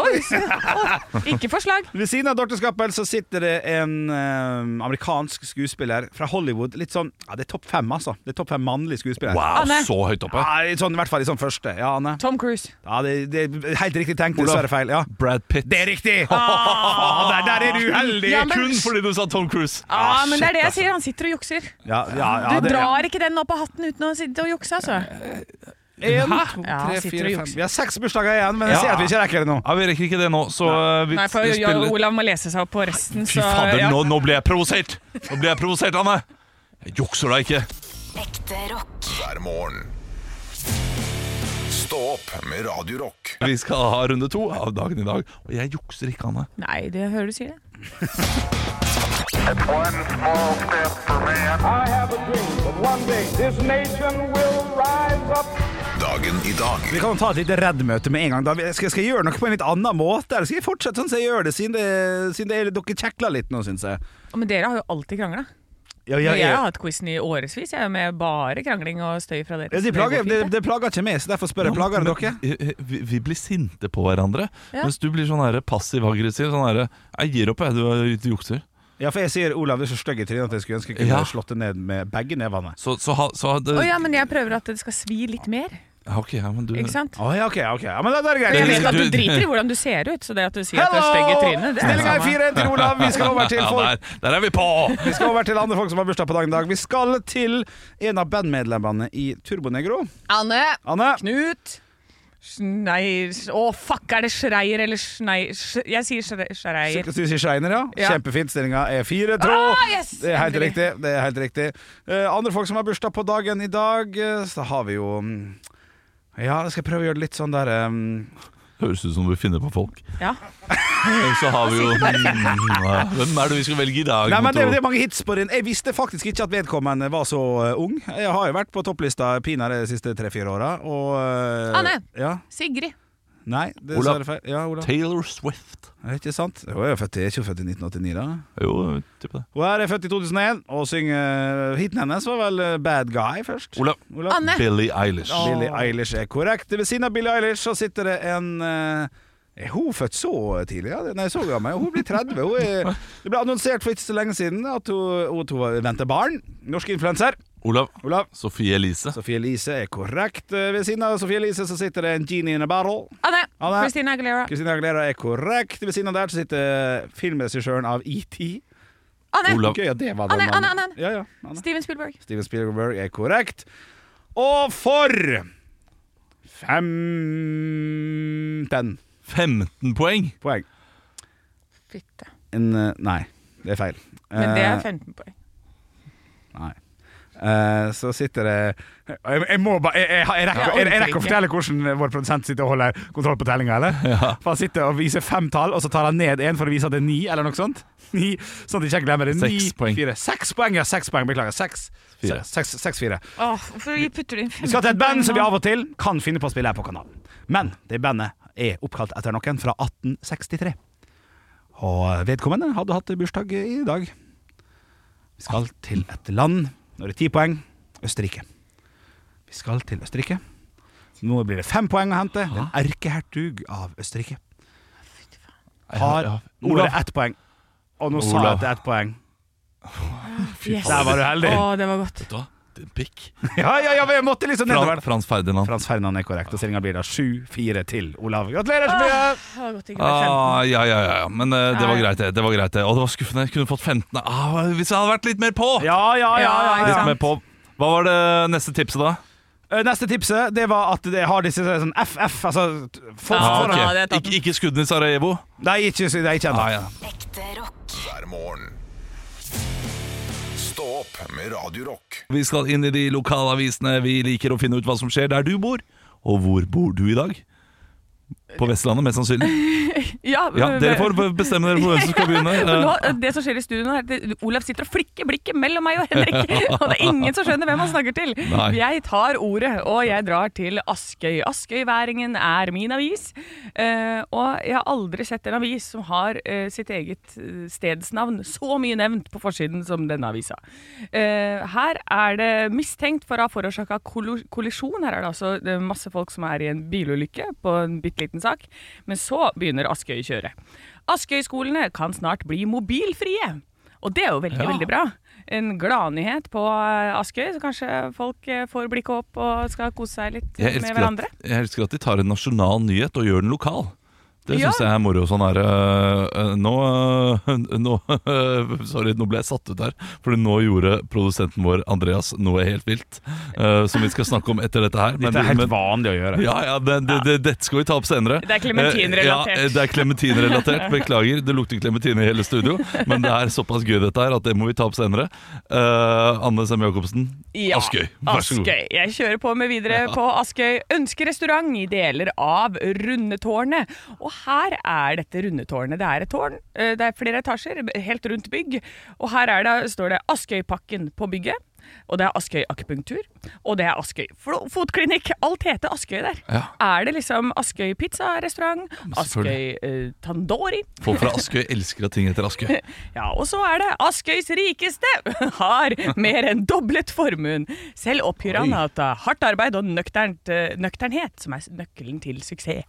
[SPEAKER 5] Oi, se. Å, ikke forslag.
[SPEAKER 6] ved siden av Dorte Skappel så sitter det en eh, amerikansk skuespiller fra Hollywood. Litt sånn Ja, det er topp fem, altså. Det er topp fem mannlige skuespillere.
[SPEAKER 8] Wow,
[SPEAKER 5] Anne.
[SPEAKER 8] så høyt oppe.
[SPEAKER 6] Ja, i sånn, I hvert fall i sånn første. Ja, Anne.
[SPEAKER 5] Tom Cruise.
[SPEAKER 6] Ja, det, det er helt riktig tenkt.
[SPEAKER 8] Olav.
[SPEAKER 6] Dessverre feil. Ja.
[SPEAKER 8] Brad Pitt.
[SPEAKER 6] Det er riktig! Ah, der, der er du heldig!
[SPEAKER 5] Ja, men-
[SPEAKER 8] Kun fordi du sa Tom Cruise.
[SPEAKER 5] Ah, men det er det jeg sier. Han sitter og jukser.
[SPEAKER 6] Ja, altså. ja, ja,
[SPEAKER 5] Du
[SPEAKER 6] det-
[SPEAKER 5] drar ikke den opp av hatten uten å sitte og jukse, altså.
[SPEAKER 6] En, to,
[SPEAKER 5] Ja,
[SPEAKER 6] tre,
[SPEAKER 5] sitter
[SPEAKER 6] fire,
[SPEAKER 5] og
[SPEAKER 6] fem
[SPEAKER 5] jukser.
[SPEAKER 6] Vi har seks bursdager igjen, men jeg
[SPEAKER 8] Ja.
[SPEAKER 6] ser at vi ikke rekker det nå.
[SPEAKER 8] Ja, Vi rekker ikke det nå, så eh, vi
[SPEAKER 5] Nei, for
[SPEAKER 8] vi
[SPEAKER 5] ja,
[SPEAKER 8] spiller
[SPEAKER 5] Olav må lese seg opp på resten,
[SPEAKER 8] Fy
[SPEAKER 5] så
[SPEAKER 8] fader,
[SPEAKER 5] ja.
[SPEAKER 8] nå, nå ble jeg provosert! Nå ble jeg provosert, Anne! Jeg jukser da ikke.
[SPEAKER 7] Ekte rock.
[SPEAKER 4] hver morgen. Stå opp med Radio Rock.
[SPEAKER 8] Vi skal ha runde to av dagen i dag, og jeg jukser ikke, Anne.
[SPEAKER 5] Nei, det hører du sier det.
[SPEAKER 9] It's one small step for man. I have a dream that one day this nation will rise up.
[SPEAKER 4] Dagen i dag
[SPEAKER 6] Vi kan jo ta et lite Redd-møte med en gang. Da. Skal, skal jeg gjøre noe på en litt annen måte? Eller skal jeg fortsette sånn som jeg gjør det, siden, det, siden det, dere kjekler litt nå, syns jeg?
[SPEAKER 5] Men dere har jo alltid krangla.
[SPEAKER 6] Ja,
[SPEAKER 5] Jeg,
[SPEAKER 6] ja, ja.
[SPEAKER 5] har hatt quizen i årevis, jeg, med bare krangling og støy fra dere.
[SPEAKER 6] Ja,
[SPEAKER 5] så
[SPEAKER 6] det,
[SPEAKER 5] det går
[SPEAKER 6] plager,
[SPEAKER 5] fint,
[SPEAKER 6] det,
[SPEAKER 5] det.
[SPEAKER 6] det plager ikke meg, så derfor spør jeg plager det dere.
[SPEAKER 8] Men, eh, eh, Vi, vi blir sinte på hverandre,
[SPEAKER 5] Ja.
[SPEAKER 8] mens du blir sånn her passiv-aggressiv. Sånn her, jeg gir opp, jeg. Du, du jukser.
[SPEAKER 6] Ja, for jeg sier Olav, du er så stygg i trynet at jeg skulle ønske jeg kunne
[SPEAKER 8] Ja.
[SPEAKER 6] slått det ned med begge nevene.
[SPEAKER 8] Så, så, ha- så, ha- det,
[SPEAKER 5] Å ja, men jeg prøver at det skal svi litt mer,
[SPEAKER 8] Ja, Ok, ja, men du
[SPEAKER 5] ikke sant?
[SPEAKER 6] Å Mm. ja, ok, ok. Ja, men da, da er det
[SPEAKER 5] For jeg
[SPEAKER 6] greit.
[SPEAKER 5] vet at du
[SPEAKER 8] Du-
[SPEAKER 5] driter i hvordan du ser ut, så det at du sier at du er stygg i
[SPEAKER 6] Hello!
[SPEAKER 5] trynet, det er det
[SPEAKER 6] Stillinga er
[SPEAKER 5] samme.
[SPEAKER 6] 4-1 til Olav. Vi skal over til
[SPEAKER 8] Ja,
[SPEAKER 6] folk
[SPEAKER 8] der, der er vi på!
[SPEAKER 6] Vi skal over til andre folk som har bursdag på dagen i dag. Vi skal til en av bandmedlemmene i Turbonegro.
[SPEAKER 5] Anne!
[SPEAKER 6] Anne.
[SPEAKER 5] Knut! Schneier Å, fuck, er det Schreier eller Schneier Sch- Jeg sier Schre- Schreier.
[SPEAKER 6] Skal du si Shiner, ja?
[SPEAKER 5] Ja.
[SPEAKER 6] Kjempefint. Stillinga er fire tråd.
[SPEAKER 5] Ah, yes!
[SPEAKER 6] Det er helt
[SPEAKER 5] Endelig.
[SPEAKER 6] riktig. Det er helt riktig. Eh, andre folk som har bursdag på dagen i dag, eh, så har vi jo mm, Ja, jeg skal prøve å gjøre det litt sånn der um,
[SPEAKER 8] Høres ut som vi finner på folk. Eh,
[SPEAKER 5] Ja.
[SPEAKER 8] Så har vi jo Mm, Hvem er det vi skal velge i dag?
[SPEAKER 6] Nei, men det,
[SPEAKER 8] Motor?
[SPEAKER 6] det er mange hits på den. Jeg visste faktisk ikke at vedkommende var så eh, ung. Jeg har jo vært på topplista pinadø de siste tre-fire åra, og eh,
[SPEAKER 5] Anne.
[SPEAKER 6] Ja.
[SPEAKER 5] Sigrid.
[SPEAKER 6] Nei, det
[SPEAKER 8] Olav.
[SPEAKER 6] er feil. Ja, Olav.
[SPEAKER 8] Taylor Swift.
[SPEAKER 6] Er det Ikke sant? Jo, jeg er født i- jeg er ikke født i 1989, da.
[SPEAKER 8] Jo, jeg tipper det.
[SPEAKER 6] Hun er født i 2001 og synger Hiten hennes var vel eh, Bad Guy først.
[SPEAKER 8] Olav.
[SPEAKER 6] Olav.
[SPEAKER 5] Anne.
[SPEAKER 8] Billie Eilish.
[SPEAKER 6] Billie Eilish er korrekt. Ved siden av Billie Eilish så sitter det en eh, Er hun født så tidlig? Ja, nei, så gammel. Hun blir 30. Hun er, det ble annonsert for ikke så lenge siden at hun, at hun venter barn. Norsk influenser.
[SPEAKER 8] Olav.
[SPEAKER 6] Olav.
[SPEAKER 8] Sophie Elise.
[SPEAKER 6] Sophie Elise er korrekt. Eh, Ved siden av Sophie Elise så sitter det en genie in a bottle.
[SPEAKER 5] Anne.
[SPEAKER 6] Anne.
[SPEAKER 5] Christina Aguilera.
[SPEAKER 6] Christina Aguilera er korrekt. Ved siden av der så sitter eh, filmregissøren av E ET.
[SPEAKER 5] Anne.
[SPEAKER 8] Olav.
[SPEAKER 6] Gøy at det var den
[SPEAKER 5] Anne, Anne,
[SPEAKER 6] mannen.
[SPEAKER 5] Anne, Anne.
[SPEAKER 6] Ja, ja, Anne.
[SPEAKER 5] Steven Spielberg.
[SPEAKER 6] Steven Spielberg er korrekt. Og for 15
[SPEAKER 8] 15 poeng.
[SPEAKER 6] poeng
[SPEAKER 5] Fitte.
[SPEAKER 6] en, eh, Nei, det er feil.
[SPEAKER 5] Men det er
[SPEAKER 6] Eh,
[SPEAKER 5] 15 poeng.
[SPEAKER 6] Nei. Eh, så sitter det Jeg, jeg må bare jeg, jeg, jeg, rekker, jeg, jeg rekker å fortelle hvordan vår produsent sitter og holder kontroll på tellinga, eller? For han sitter og viser fem tall, og så tar han ned én for å vise at det er ni, eller noe sånt. Ni, sånn at jeg ikke glemmer det.
[SPEAKER 8] Seks
[SPEAKER 6] Ni,
[SPEAKER 8] poeng.
[SPEAKER 6] Fire. Seks poeng, ja. Seks poeng. Beklager. Seks.
[SPEAKER 8] Fire.
[SPEAKER 6] Seks, seks, fire.
[SPEAKER 5] Åh, hvorfor putter du inn 15
[SPEAKER 6] Vi skal til et band som vi
[SPEAKER 5] nå?
[SPEAKER 6] av og til kan finne på å spille her på kanalen. Men det bandet er oppkalt etter noen fra 1863. Og vedkommende hadde hatt bursdag i dag. Vi skal til et land. Nå er det ti poeng. Østerrike. Vi skal til Østerrike. Nå blir det fem poeng å hente. Det er en erkehertug av Østerrike. Har Nå er det ett poeng. Og nå sa jeg at det er ett poeng.
[SPEAKER 5] Yes.
[SPEAKER 6] Der var du heldig.
[SPEAKER 5] Å, det var godt.
[SPEAKER 8] Da, det er en pikk.
[SPEAKER 6] Ja, ja, ja, jeg måtte liksom nedover.
[SPEAKER 8] Fra, Frans Ferdinand.
[SPEAKER 6] Frans Ferdinand er korrekt, og stillinga blir da 7-4 til Olav. Gratulerer
[SPEAKER 5] Ah!
[SPEAKER 6] så mye!
[SPEAKER 5] Det var godt ikke ble 15.
[SPEAKER 8] Ah, ja, ja, ja, ja. Men eh, det
[SPEAKER 5] Ja,
[SPEAKER 8] var
[SPEAKER 5] ja.
[SPEAKER 8] greit, det. det var greit det Og det var skuffende. Jeg kunne fått 15. Ah, hvis jeg hadde vært litt mer på!
[SPEAKER 6] Ja, ja, ja. ja,
[SPEAKER 5] Ja,
[SPEAKER 6] ja.
[SPEAKER 8] Litt mer på. Hva var det neste tipset, da?
[SPEAKER 6] Eh, Neste tipset det var at det har disse sånn FF, altså t- folk
[SPEAKER 8] Ah,
[SPEAKER 6] foran.
[SPEAKER 8] ok.
[SPEAKER 5] Ja, det er tatt.
[SPEAKER 8] ikke, ikke skuddene i Sarajevo?
[SPEAKER 6] Det er ikke, det er ikke ennå.
[SPEAKER 8] Ah, ja.
[SPEAKER 7] Ekte rock.
[SPEAKER 4] hver morgen. Stå opp med Radio Rock.
[SPEAKER 8] Vi skal inn i de lokalavisene. Vi liker å finne ut hva som skjer der du bor. Og hvor bor du i dag? På Vestlandet, mest sannsynlig.
[SPEAKER 5] Ja,
[SPEAKER 8] Ja, Dere får bestemme dere for hvem som skal begynne.
[SPEAKER 5] For nå,
[SPEAKER 8] Eh,
[SPEAKER 5] det som skjer i studio nå, er at Olav sitter og flikker blikket mellom meg og Henrik. Og det er ingen som skjønner hvem han snakker til.
[SPEAKER 8] Nei.
[SPEAKER 5] Jeg tar ordet, og jeg drar til Askøy. Askøyværingen er min avis. Eh, og jeg har aldri sett en avis som har eh, sitt eget eh, stedsnavn så mye nevnt på forsiden som denne avisa. Eh, her er det mistenkt for å ha forårsaka kollisjon. Her er det altså det er masse folk som er i en bilulykke på en bitte liten sak. Men så begynner Askøy kjøret. Askøy-skolene kan snart bli mobilfrie. Og det er jo veldig, veldig bra. En gladnyhet på eh, Askøy, så kanskje folk eh, får blikket opp og skal kose seg litt
[SPEAKER 8] Jeg
[SPEAKER 5] med
[SPEAKER 8] elsker, at,
[SPEAKER 5] hverandre.
[SPEAKER 8] jeg elsker at de tar en nasjonal nyhet og gjør den lokal. Det
[SPEAKER 5] Ja.
[SPEAKER 8] syns jeg er moro. Sånn her eh, nå, eh, nå Sorry, nå ble jeg satt ut her. For nå gjorde produsenten vår Andreas noe helt vilt, eh, som vi skal snakke om etter dette her. Men-
[SPEAKER 6] Dette er helt
[SPEAKER 8] men-
[SPEAKER 6] vanlig å gjøre.
[SPEAKER 8] ja, ja, det, det, det, dette skal vi ta opp senere.
[SPEAKER 5] Det er clementinrelatert.
[SPEAKER 8] Eh, Ja, det er clementinrelatert. Beklager, det lukter clementin i hele studio. Men det er såpass gøy dette her at det må vi ta opp senere. Eh, Anne Sem Jacobsen,
[SPEAKER 5] Ja,
[SPEAKER 8] Askøy. Vær så god.
[SPEAKER 5] Askøy. Jeg kjører på med videre på Askøy ønskerestaurant i deler av Rundetårnet. Og her er dette Rundetårnet. Det er et tårn. eh, Det er flere etasjer, helt rundt bygg. Og her er det, står det Askøypakken på bygget. Og det er Askøy akupunktur. Og det er Askøy flo- fotklinikk. Alt heter Askøy der.
[SPEAKER 8] Ja.
[SPEAKER 5] Er det liksom Askøy pizzarestaurant? Askøy
[SPEAKER 8] selvfølgelig.
[SPEAKER 5] eh, tandoori?
[SPEAKER 8] Folk fra Askøy elsker at ting heter Askøy.
[SPEAKER 5] Ja, og så er det Askøys rikeste har mer enn doblet formuen. Selv oppgir han
[SPEAKER 8] Oi.
[SPEAKER 5] at det er hardt arbeid og nøkternt, eh, nøkternhet som er nøkkelen til suksess.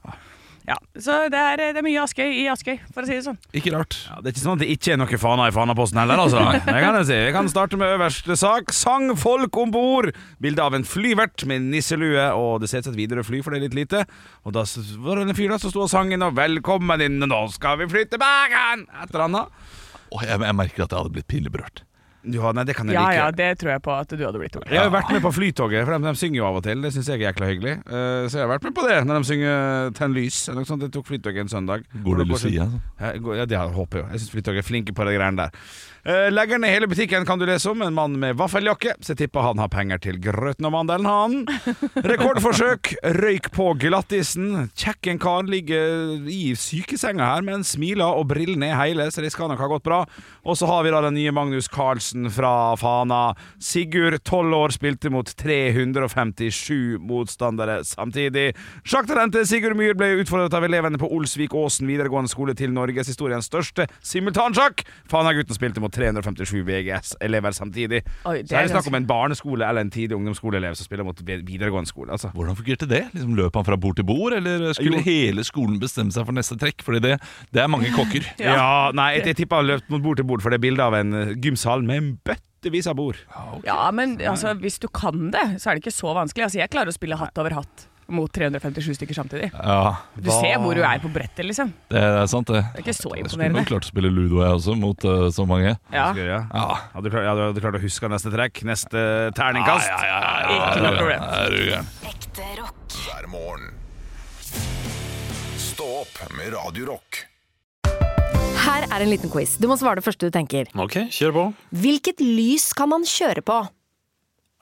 [SPEAKER 5] Ja, Så det er, eh, det er mye Askøy i Askøy, for å si det sånn.
[SPEAKER 8] Ikke rart.
[SPEAKER 6] Ja, det er ikke sånn at det ikke er noe faner i Fanaposten heller, altså. Det kan jeg si. Vi kan starte med øverste sak. Sang folk om bord! Bilde av en flyvert med nisselue, og det ser ut som et videre fly, for det er litt lite. Og da s- var det en fyr der som sto og sang inn, og 'Velkommen inn, og nå skal vi flytte bagen!' Et eller annet.
[SPEAKER 8] Åh, jeg, jeg merker at jeg hadde blitt pinlig berørt.
[SPEAKER 6] Ja, nei, det kan jeg
[SPEAKER 5] Ja
[SPEAKER 6] like.
[SPEAKER 5] ja, det tror jeg på at du hadde blitt. Ole.
[SPEAKER 6] Jeg har jo vært med på Flytoget, for de, de synger jo av og til. Det syns jeg er jækla hyggelig. Eh, så jeg har vært med på det, når de synger eh, 'Tenn lys' eller noe sånt. Jeg tok Flytoget en søndag.
[SPEAKER 8] Går det Lucia?
[SPEAKER 6] Ja, gå- Ja, det har- håper jeg. Jeg syns Flytoget er flinke på de greiene der. Eh, legger ned hele butikken, kan du lese om. En mann med vaffeljakke. Så jeg tipper han har penger til grøten og mandelen, han. Rekordforsøk. Røyk på glattisen. Kjekken kar ligger i sykesenga her, men smiler og brillene er hele, så det skal nok ha gått bra. Og så har vi da den nye Magnus Carlsen fra Fana. Sigurd, 12 år, spilte mot 357 motstandere samtidig. Sjaktalente Sigurd Myhr ble utfordret av elevene på Olsvik Åsen videregående skole til norgeshistoriens største simultansjakk. Fana-gutten spilte mot 357 VGS-elever samtidig.
[SPEAKER 5] Oi, det
[SPEAKER 6] så er
[SPEAKER 5] er
[SPEAKER 6] det snakk om
[SPEAKER 5] ganske-
[SPEAKER 6] en barneskole eller en tidlig ungdomsskoleelev som spiller mot vi- videregående skole. Altså.
[SPEAKER 8] Hvordan fungerte det? Liksom Løp han fra bord til bord, eller skulle
[SPEAKER 6] Jo.
[SPEAKER 8] hele skolen bestemme seg for neste trekk? Fordi det, det er mange kokker.
[SPEAKER 6] Ja. nei, jeg, jeg tipper han løp mot bord til bord, for det er bilde av en eh, gymsal med en bøttevis av bord.
[SPEAKER 5] Ja, men altså, hvis du kan det, så er det ikke så vanskelig. Altså, jeg klarer å spille hatt over hatt mot 357 stykker samtidig.
[SPEAKER 8] Ja,
[SPEAKER 5] Du ser hvor du er på brettet, liksom.
[SPEAKER 8] det er sant, det.
[SPEAKER 5] Det er ikke så
[SPEAKER 8] Jeg skulle
[SPEAKER 5] imponerende.
[SPEAKER 8] nok klart å spille ludo, jeg også, mot eh, så mange.
[SPEAKER 5] Ah. Ja,
[SPEAKER 6] Husker du, ja.
[SPEAKER 8] Ja.
[SPEAKER 6] Hadde du klart, ja, du hadde klart å huske neste trekk? Neste terningkast?
[SPEAKER 5] ikke noe problem.
[SPEAKER 8] Er du gæren?
[SPEAKER 7] Ekte rock.
[SPEAKER 4] hver morgen. Stå opp med Radio Rock.
[SPEAKER 2] Her er en liten quiz. Du må svare det første du tenker.
[SPEAKER 3] Ok, kjør på.
[SPEAKER 2] Hvilket lys kan man kjøre på?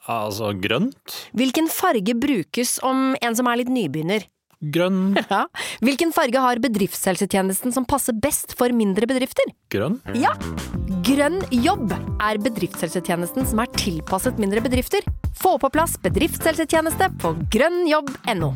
[SPEAKER 3] Altså grønt.
[SPEAKER 2] Hvilken farge brukes om en som er litt nybegynner?
[SPEAKER 3] Grønn.
[SPEAKER 2] Ja. Hvilken farge har bedriftshelsetjenesten som passer best for mindre bedrifter?
[SPEAKER 3] Grønn.
[SPEAKER 2] Ja! Grønn jobb er bedriftshelsetjenesten som er tilpasset mindre bedrifter. Få på plass bedriftshelsetjeneste på grønnjobb.no.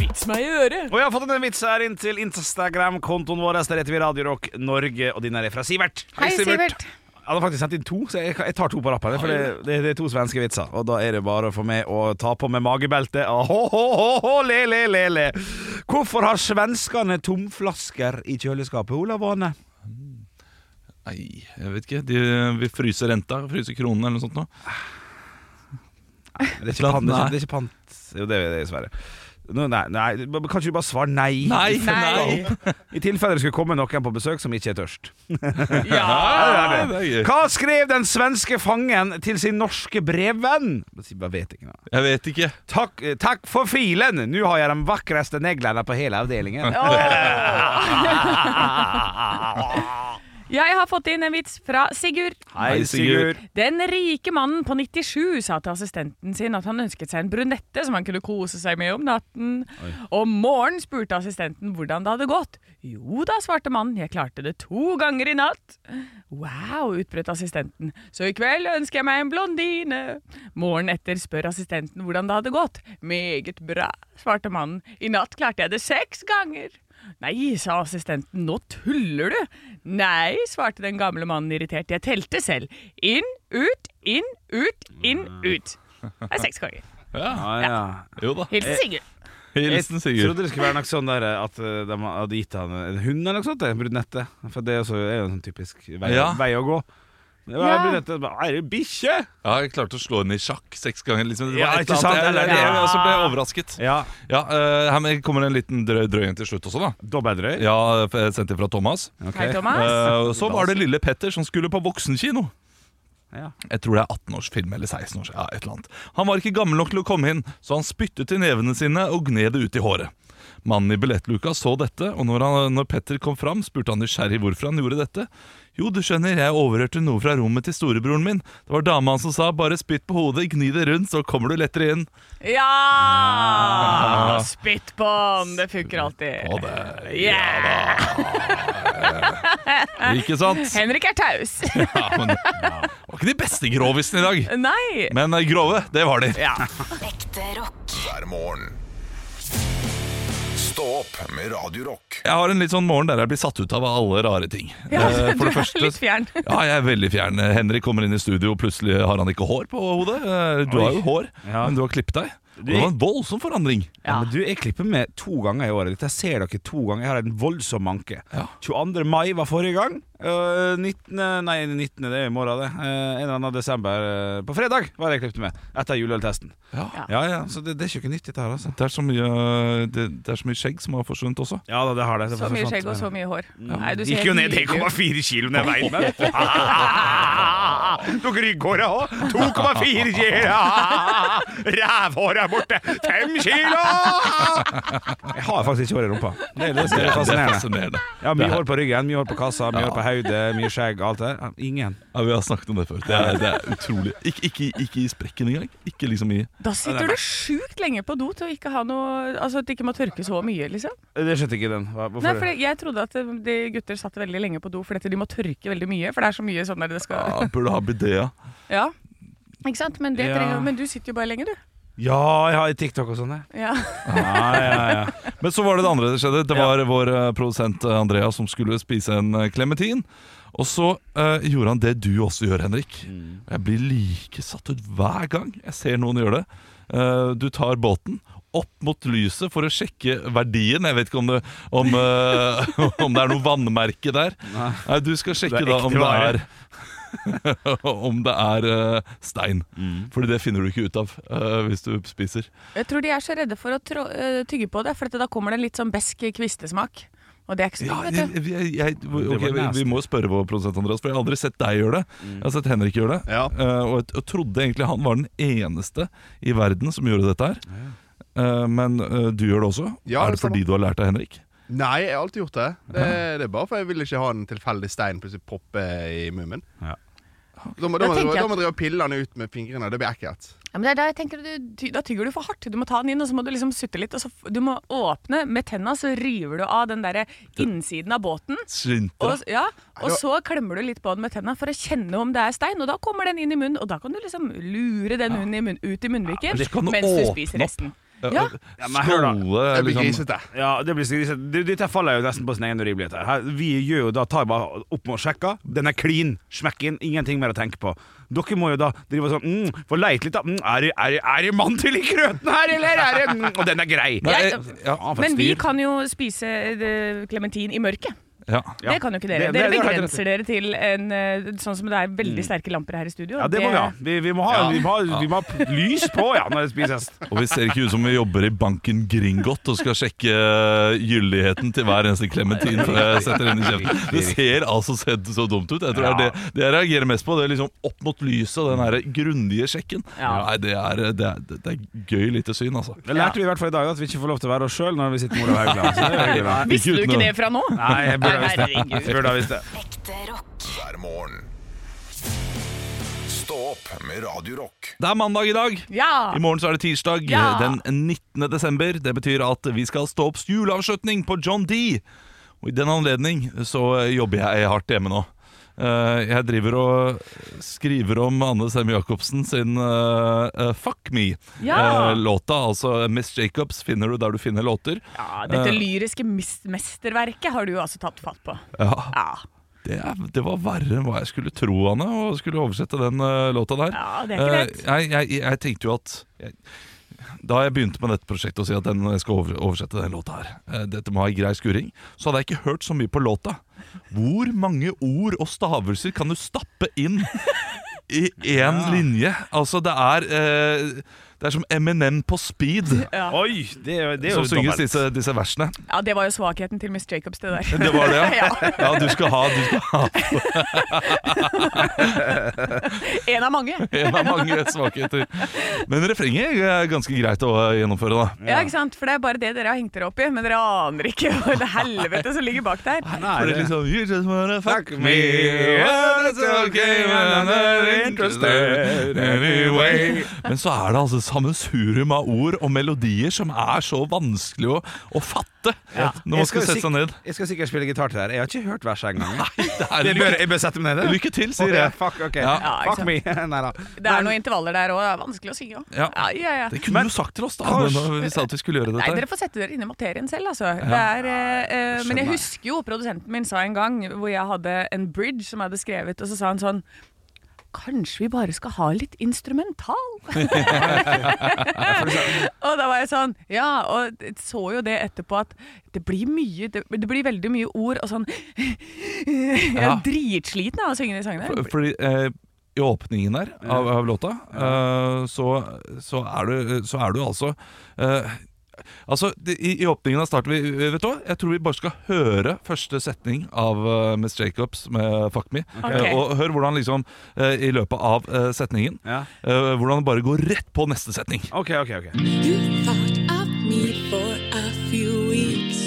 [SPEAKER 5] Vits meg i øret!
[SPEAKER 6] Og jeg har fått en vits her inn til Instagram-kontoen vår. Der heter vi Radio Rock Norge, og din er fra Sivert.
[SPEAKER 5] Hei, Sivert.
[SPEAKER 6] Han har faktisk sendt inn to, så jeg, jeg tar to på rappen. For det, det, det er to svenske vitser. Og da er det bare for meg å ta på meg magebeltet. Ahåhåhå, le, le, le, le. Hvorfor har svenskene tomflasker i kjøleskapet, Olav Ane?
[SPEAKER 8] Nei, jeg vet ikke. De vil fryse renta, fryse kronen eller noe sånt. Nå.
[SPEAKER 6] Det er ikke pant. Det er
[SPEAKER 8] Nei.
[SPEAKER 6] ikke, det er ikke pant. Jo, det er det, dessverre. Nå, Nei, nei, b- b- kan ikke du bare svare nei?
[SPEAKER 8] Nei, Nei.
[SPEAKER 6] I tilfelle det skulle komme noen på besøk som ikke er tørst.
[SPEAKER 8] Ja,
[SPEAKER 6] det
[SPEAKER 8] det
[SPEAKER 6] er
[SPEAKER 8] er gøy.
[SPEAKER 6] Hva skrev den svenske fangen til sin norske brevvenn? Hva vet ikke nå.
[SPEAKER 8] Jeg vet ikke.
[SPEAKER 6] Takk, eh, takk for filen! Nå har jeg de vakreste neglene på hele avdelingen.
[SPEAKER 5] Jeg har fått inn en vits fra Sigurd.
[SPEAKER 6] Hei, Sigurd.
[SPEAKER 5] Den rike mannen på 97 sa til assistenten sin at han ønsket seg en brunette som han kunne kose seg med om natten. Om morgenen spurte assistenten hvordan det hadde gått. Jo da, svarte mannen, jeg klarte det to ganger i natt. Wow, utbrøt assistenten, så i kveld ønsker jeg meg en blondine. Morgenen etter spør assistenten hvordan det hadde gått. Meget bra, svarte mannen, i natt klarte jeg det seks ganger. Nei, sa assistenten, nå tuller du. Nei, svarte den gamle mannen irritert, jeg telte selv. Inn, ut, inn, ut, inn, ut. Det er seks ganger.
[SPEAKER 6] Ja, ja.
[SPEAKER 8] Jo da.
[SPEAKER 5] Hilsen Sigurd.
[SPEAKER 8] Hilsen
[SPEAKER 6] Jeg
[SPEAKER 8] Sigurd.
[SPEAKER 6] trodde det skulle være noe sånn der eh, at eh, de hadde gitt han en hund eller noe sånt, en brunette. For det er jo så- er jo en sånn typisk vei,
[SPEAKER 8] Ja.
[SPEAKER 6] vei å gå. Det var
[SPEAKER 5] Ja.
[SPEAKER 6] brunette, bare, Er det bikkje?
[SPEAKER 8] Ja, jeg klarte å slå henne i sjakk seks ganger. Liksom. Det
[SPEAKER 6] Ja,
[SPEAKER 8] var et
[SPEAKER 6] ikke
[SPEAKER 8] eller
[SPEAKER 6] sant?
[SPEAKER 8] annet. Jeg, jeg, jeg,
[SPEAKER 6] Ja.
[SPEAKER 8] så ble jeg overrasket.
[SPEAKER 6] Ja.
[SPEAKER 8] Ja, eh, her med- kommer en liten drøy, drøy en til slutt også, da.
[SPEAKER 6] Dobbeltrøy?
[SPEAKER 8] Ja, f- sendt inn fra Thomas.
[SPEAKER 6] Ok.
[SPEAKER 5] Hei, Thomas.
[SPEAKER 8] Eh, så var det lille Petter som skulle på voksenkino.
[SPEAKER 6] Ja.
[SPEAKER 8] Jeg tror det er 18-årsfilm eller 16-års. Ja, et eller annet. Han var ikke gammel nok til å komme inn, så han spyttet i nevene sine og gned det ut i håret. Mannen i billettluka så dette, og når, han, når Petter kom fram, spurte han nysgjerrig hvorfor han gjorde dette. Jo, du skjønner, jeg overhørte noe fra rommet til storebroren min. Det var dama hans som sa 'bare spytt på hodet, gni det rundt, så kommer du lettere inn'.
[SPEAKER 5] Ja! Spytt på den, det funker
[SPEAKER 8] Og
[SPEAKER 5] alltid.
[SPEAKER 8] Ah. det,
[SPEAKER 5] Yeah!
[SPEAKER 8] ikke sant?
[SPEAKER 5] Henrik er taus.
[SPEAKER 8] Ja, men, var ikke de beste grovisene i dag.
[SPEAKER 5] Nei.
[SPEAKER 8] Men eh, grove, det var de.
[SPEAKER 5] Ja.
[SPEAKER 7] Ekte rock.
[SPEAKER 4] hver morgen. Stå opp med Radio Rock.
[SPEAKER 8] Jeg har en litt sånn morgen der jeg blir satt ut av alle rare ting.
[SPEAKER 5] Ja,
[SPEAKER 8] Eh,
[SPEAKER 5] du er litt fjern.
[SPEAKER 8] Ja, jeg er veldig fjern. Henrik kommer inn i studio, og plutselig har han ikke hår på hodet. Eh, Du har jo hår,
[SPEAKER 6] Ja.
[SPEAKER 8] men du har klippet deg. Og det var en voldsom forandring.
[SPEAKER 6] Ja, men du, Jeg klipper med to ganger i året. Dette ser dere to ganger. Jeg har en voldsom manke. 22. mai var forrige gang. Øh, 19. Nei, 19. det er i morgen, det. Eh, en eller annen desember. eh, på fredag var det jeg klippet med. Etter juleøltesten.
[SPEAKER 8] Ja.
[SPEAKER 6] Ja, ja, så det, det er ikke noe nytt, dette her, altså.
[SPEAKER 8] Det er, så mye, det, det er så mye skjegg som har forsvunnet også.
[SPEAKER 6] Ja da, det har det. det
[SPEAKER 5] Så mye skjegg og så mye hår.
[SPEAKER 8] Mm.
[SPEAKER 5] Nei, du ser
[SPEAKER 6] Gikk jo
[SPEAKER 5] helt
[SPEAKER 6] ned
[SPEAKER 5] nydelig ut.
[SPEAKER 6] 1,4 kilo ned veien der. Tok rygghåra òg. 2,4 kilo! Rævhåret er borte. 5 kilo! Jeg har faktisk ikke hår i rumpa. Det, det, det
[SPEAKER 8] Det
[SPEAKER 6] er
[SPEAKER 8] er
[SPEAKER 6] fascinerende.
[SPEAKER 8] fascinerende.
[SPEAKER 6] Jeg har mye hår på ryggen, mye hår på kassa, mye hår på hodet, mye skjegg, alt det der. Ingen.
[SPEAKER 8] Ja, vi har snakket om det før. Det er, det er utrolig. Ikke, ikke, ikke i sprekken engang. Ikke liksom i
[SPEAKER 5] Da sitter du sjukt lenge på do til å ikke ha noe Altså at det ikke må tørke så mye, liksom.
[SPEAKER 6] Det skjønte ikke den. Hva-
[SPEAKER 5] Nei,
[SPEAKER 6] Hvorfor?
[SPEAKER 5] for Jeg trodde at eh, de gutter satt veldig lenge på do fordi at de må tørke veldig mye. For det er så mye sånn der det skal
[SPEAKER 8] ja, Burde ha bidea.
[SPEAKER 5] Ja. Ikke sant? Men, det
[SPEAKER 6] Ja.
[SPEAKER 5] trenger, men du sitter jo bare lenge, du.
[SPEAKER 6] Ja, jeg har TikTok og sånn, jeg.
[SPEAKER 5] Ja.
[SPEAKER 6] Ja, ja, ja.
[SPEAKER 8] Men så var det det andre som skjedde. Det var vår eh, produsent eh, Andrea som skulle spise en eh, klementin. Og så eh, gjorde han det du også gjør, Henrik.
[SPEAKER 6] Mm.
[SPEAKER 8] Jeg blir like satt ut hver gang jeg ser noen gjøre det. Eh, du tar båten opp mot lyset for å sjekke verdien. Jeg vet ikke om det, om, eh, om det er noe vannmerke der. Nei, Du skal sjekke
[SPEAKER 6] Det er
[SPEAKER 8] da om
[SPEAKER 6] ekte
[SPEAKER 8] det
[SPEAKER 6] vare.
[SPEAKER 8] er om det er eh, stein.
[SPEAKER 6] Mm.
[SPEAKER 8] Fordi det finner du ikke ut av eh, hvis du spiser.
[SPEAKER 5] Jeg tror de er så redde for å trå, eh, tygge på det, for at da kommer det en litt sånn besk kvistesmak. Og det er ikke så
[SPEAKER 8] Ja,
[SPEAKER 5] godt,
[SPEAKER 8] jeg,
[SPEAKER 5] vet du.
[SPEAKER 8] jeg, jeg, ok, vi,
[SPEAKER 6] nasty.
[SPEAKER 8] vi må spørre vår produsent Andreas, for jeg har aldri sett deg gjøre det. Jeg har sett Henrik gjøre det,
[SPEAKER 6] Ja.
[SPEAKER 8] eh, og, jeg, og trodde egentlig han var den eneste i verden som gjorde dette her. Eh, men eh, du gjør det også.
[SPEAKER 10] Ja,
[SPEAKER 8] er
[SPEAKER 10] det
[SPEAKER 8] det fordi du har lært av Henrik?
[SPEAKER 10] Nei, jeg har alltid gjort det. Det, det er bare for jeg vil ikke ha en tilfeldig stein plutselig poppe i munnen min.
[SPEAKER 6] Ja.
[SPEAKER 10] Da må,
[SPEAKER 5] Da
[SPEAKER 10] da, må,
[SPEAKER 5] tenker jeg
[SPEAKER 10] da
[SPEAKER 5] at-
[SPEAKER 10] må jeg drive og pille den ut med fingrene. Det blir ekkelt.
[SPEAKER 5] Ja, men det er der jeg tenker du, ty, Da tygger du for hardt. Du må ta den inn, og så må du liksom sutte litt. Og så f- du må åpne med tenna, så river du av den derre innsiden av båten.
[SPEAKER 8] Sinte.
[SPEAKER 5] Og, ja, og så klemmer du litt på den med tenna for å kjenne om det er stein, og da kommer den inn i munnen, og da kan du liksom lure den hunden i munn, ut i munnviken
[SPEAKER 8] men det kan du
[SPEAKER 5] mens du
[SPEAKER 8] åpne
[SPEAKER 5] spiser
[SPEAKER 8] opp.
[SPEAKER 5] resten. Ja.
[SPEAKER 6] Ja, men hør da.
[SPEAKER 8] Skåle
[SPEAKER 10] Det blir
[SPEAKER 8] liksom.
[SPEAKER 10] grisete.
[SPEAKER 6] Ja, det blir så grisete. Det- Dette faller jo nesten på sin egen urimelighet. her. Her, Vi gjør jo da, tar bare opp med og sjekker. Den er clean. Smekk inn. Ingenting mer å tenke på. Dere må jo da drive og sånn mm, Få leite litt, da. Mm, er, det- er, det- er det mann til i grøten her, eller er det mm, Og den er grei.
[SPEAKER 8] Nei, jeg- ja,
[SPEAKER 6] Faen, for et
[SPEAKER 5] Men vi
[SPEAKER 6] styr.
[SPEAKER 5] kan jo spise klementin eh, i mørket.
[SPEAKER 8] Ja.
[SPEAKER 5] Det kan jo ikke dere.
[SPEAKER 6] Det- det-
[SPEAKER 5] Dere
[SPEAKER 6] det har jeg
[SPEAKER 5] begrenser dere til en eh, Sånn som det er veldig sterke lamper her i studio.
[SPEAKER 6] Ja, det må vi ha. Vi, vi, må, ha,
[SPEAKER 8] Ja.
[SPEAKER 6] vi, må, ha vi må ha lys på ja, når det spises.
[SPEAKER 8] Og vi ser ikke ut som vi jobber i banken Gringot og skal sjekke eh, gyldigheten til hver eneste klementin før jeg setter den i kjeften. Det ser altså så, så dumt ut. Jeg tror det, er det, det jeg reagerer mest på, det er liksom opp mot lyset og den her grundige sjekken. Nei, det er, det, er, det er gøy lite syn, altså.
[SPEAKER 6] Det lærte vi i hvert fall i dag, at vi ikke får lov til å være oss sjøl når vi sitter med Olav Haugland. så det er hyggelig, da.
[SPEAKER 5] Visste du ikke det fra nå?
[SPEAKER 6] Nei, jeg burde ha visst det.
[SPEAKER 5] Herregud.
[SPEAKER 6] Jeg Burde ha visst det.
[SPEAKER 4] Hver morgen. Stå opp med Radio Rock.
[SPEAKER 8] Det er mandag i dag.
[SPEAKER 5] Ja.
[SPEAKER 8] I morgen så er det tirsdag
[SPEAKER 4] Ja.
[SPEAKER 8] den 19. desember. Det betyr at vi skal stå opps juleavslutning på John D. Og i den anledning så jobber jeg hardt hjemme nå. Eh, Jeg driver og skriver om Anne Semme Jacobsen sin eh, eh, Fuck
[SPEAKER 5] Ja.
[SPEAKER 8] Me-låta. altså Miss Jacobs finner du der du finner låter.
[SPEAKER 5] Ja, Dette
[SPEAKER 8] Eh,
[SPEAKER 5] lyriske mis- mesterverket har du jo altså tatt fatt på.
[SPEAKER 8] ja. Det, er, det var verre enn hva jeg skulle tro, Anne, å skulle oversette den eh, låta der.
[SPEAKER 5] Ja, det er ikke
[SPEAKER 8] Eh,
[SPEAKER 5] lett.
[SPEAKER 8] jeg, jeg, jeg tenkte jo at jeg, Da jeg begynte med dette prosjektet og si at den, jeg skal over, oversette den låta her, eh, dette må ha grei skuring, så hadde jeg ikke hørt så mye på låta. Hvor mange ord og stavelser kan du stappe inn i én linje? Altså, det er eh, Det er som Eminem på speed.
[SPEAKER 5] Ja.
[SPEAKER 6] Oi, det, er- det er jo
[SPEAKER 8] som synges
[SPEAKER 6] dobbelt.
[SPEAKER 8] disse, disse versene.
[SPEAKER 5] Ja, Det var jo svakheten til Miss Jacobs, det der.
[SPEAKER 8] Det var det, ja?
[SPEAKER 5] ja.
[SPEAKER 8] Ja, du skal ha, du skal ha
[SPEAKER 5] En av mange.
[SPEAKER 8] En av mange svakheter. Men refrenget er ganske greit å eh, gjennomføre, da.
[SPEAKER 5] Ja, ikke sant? For det er bare det dere har hengt dere opp i, men dere aner ikke hva det helvete som ligger bak der.
[SPEAKER 8] For det er liksom You just wanna fuck me
[SPEAKER 9] well, it's okay, I'm not interested anyway.
[SPEAKER 8] Men så er det altså sammensurium av ord og melodier som er så vanskelig å, å fatte
[SPEAKER 6] Ja. Jeg
[SPEAKER 8] når man
[SPEAKER 6] skal
[SPEAKER 8] skal
[SPEAKER 6] jo
[SPEAKER 8] sette seg
[SPEAKER 6] sikk-
[SPEAKER 8] ned.
[SPEAKER 6] Jeg skal sikkert spille gitar til det her. Jeg har ikke hørt verset engang.
[SPEAKER 8] er
[SPEAKER 6] Det bør-
[SPEAKER 8] lykke-
[SPEAKER 6] Jeg bør sette meg ned i det.
[SPEAKER 8] Lykke til, sier
[SPEAKER 6] Ok,
[SPEAKER 8] jeg.
[SPEAKER 6] Fuck, ok.
[SPEAKER 8] Ja.
[SPEAKER 5] Ja, ikke
[SPEAKER 6] fuck me. Nei da.
[SPEAKER 5] Det er noen intervaller der òg. Vanskelig å synge òg.
[SPEAKER 8] Ja.
[SPEAKER 5] ja, ja.
[SPEAKER 8] Det kunne du sagt til oss, da,
[SPEAKER 6] Kanskje-
[SPEAKER 8] når vi sa at vi skulle gjøre
[SPEAKER 5] Nei,
[SPEAKER 8] dette.
[SPEAKER 5] dere får sette dere inn i materien selv, altså.
[SPEAKER 8] Ja.
[SPEAKER 5] Det er, eh, eh, men
[SPEAKER 8] skjønner.
[SPEAKER 5] jeg husker jo produsenten min sa en gang hvor jeg hadde en bridge som jeg hadde skrevet, og så sa han sånn Kanskje vi bare skal ha litt instrumental? og da var jeg sånn Ja, og jeg så jo det etterpå at det blir mye Det, det blir veldig mye ord og sånn Jeg er
[SPEAKER 8] Ja.
[SPEAKER 5] dritsliten av å synge de sangene.
[SPEAKER 8] For- Fordi eh, i åpningen der av, av låta, eh, så, så, er du, så er du altså eh, Altså, det- i, I åpningen av starten vi, eh, Vet du hva? Jeg tror vi bare skal høre første setning av eh, Miss Jacobs med 'Fuck Me'.
[SPEAKER 9] Ok.
[SPEAKER 8] Eh, og hør hvordan liksom eh, I løpet av eh, setningen eh, Hvordan det bare går rett på neste setning.
[SPEAKER 6] Ok, ok, ok
[SPEAKER 11] You thought of me for a few weeks,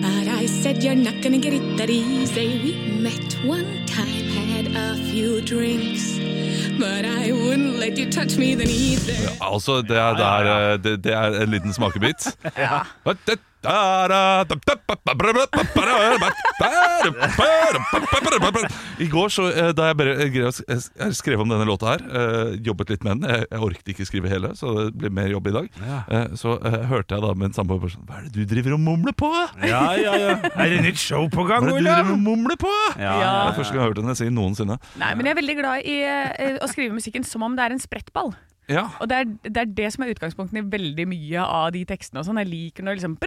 [SPEAKER 11] but I said you're not gonna get it that easy. We met one time, had a few drinks, but I wouldn't let you touch me then either.
[SPEAKER 8] Ja, altså, det er, det, er, eh, det, det er en liten smakebit. I går, så, eh, da jeg bare skrev, eh, jeg skrev om denne låta her, eh, jobbet litt med den Jeg, jeg orket ikke skrive hele, så det blir mer jobb i dag.
[SPEAKER 6] Ja.
[SPEAKER 8] Eh, Så eh, hørte jeg da med en samboer bare sånn Hva er det du driver og mumler på?
[SPEAKER 6] Ja, ja, ja. Er det nytt show på gang,
[SPEAKER 8] Hva er det du
[SPEAKER 6] Olav?
[SPEAKER 8] driver og mumler på?
[SPEAKER 6] Ja,
[SPEAKER 8] Det
[SPEAKER 6] ja,
[SPEAKER 8] er første gang jeg har hørt henne si noensinne.
[SPEAKER 5] Nei, men jeg er veldig glad i eh, å skrive musikken som om det er en sprettball.
[SPEAKER 8] Ja.
[SPEAKER 5] Og det er, det er det som er utgangspunktet i veldig mye av de tekstene. og sånn. Jeg liker når det liksom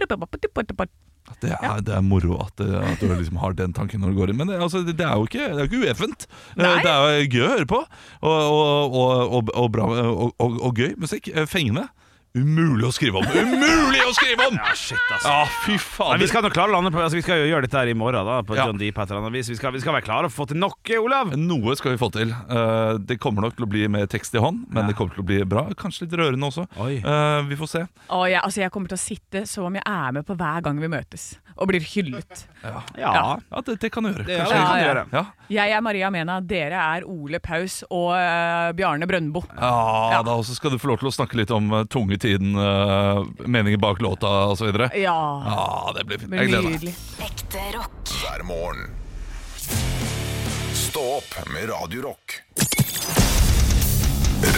[SPEAKER 8] Det er, det er moro at, det- at du liksom har den tanken når du går inn. Men det, altså, det det er jo ikke, det er jo ikke ueffent. Eh,
[SPEAKER 5] Nei.
[SPEAKER 8] Det er jo gøy å høre på, og, og, og, og, og, bra, eh, og, og, og gøy musikk. Eh, Fengende. Umulig å skrive om! Umulig å skrive om! Ja,
[SPEAKER 6] shit, altså.
[SPEAKER 8] Ja, fy fader.
[SPEAKER 6] Men vi skal nå klare å lande på Altså, vi skal jo gjøre dette her i morgen, da. På John D. på et eller annet vis. Vi skal, vi skal være klare og få til nok, Olav.
[SPEAKER 8] Noe skal vi få til. Eh, Det kommer nok til å bli med tekst i hånd, men det kommer til å bli bra. Kanskje litt rørende også. Eh, Vi får se.
[SPEAKER 5] Å, jeg, altså, jeg kommer til å sitte som om jeg er med på hver gang vi møtes, og blir hyllet.
[SPEAKER 8] Ja,
[SPEAKER 5] Ja.
[SPEAKER 8] det, det kan du gjøre.
[SPEAKER 5] Det- ja,
[SPEAKER 8] Kanskje
[SPEAKER 5] det kan
[SPEAKER 8] vi-
[SPEAKER 5] du gjøre.
[SPEAKER 8] Ja.
[SPEAKER 5] Jeg er Maria Mena, dere er Ole Paus og eh, Bjarne Brøndbo.
[SPEAKER 8] Ja, da også skal du få lov til å snakke litt om eh, tungetiden, eh, meningen bak låta osv.
[SPEAKER 5] Ja.
[SPEAKER 8] ja, det blir fint.
[SPEAKER 5] Men
[SPEAKER 8] Jeg gleder meg.
[SPEAKER 7] Ekte rock.
[SPEAKER 4] Hver morgen. Stå opp med Radio Rock.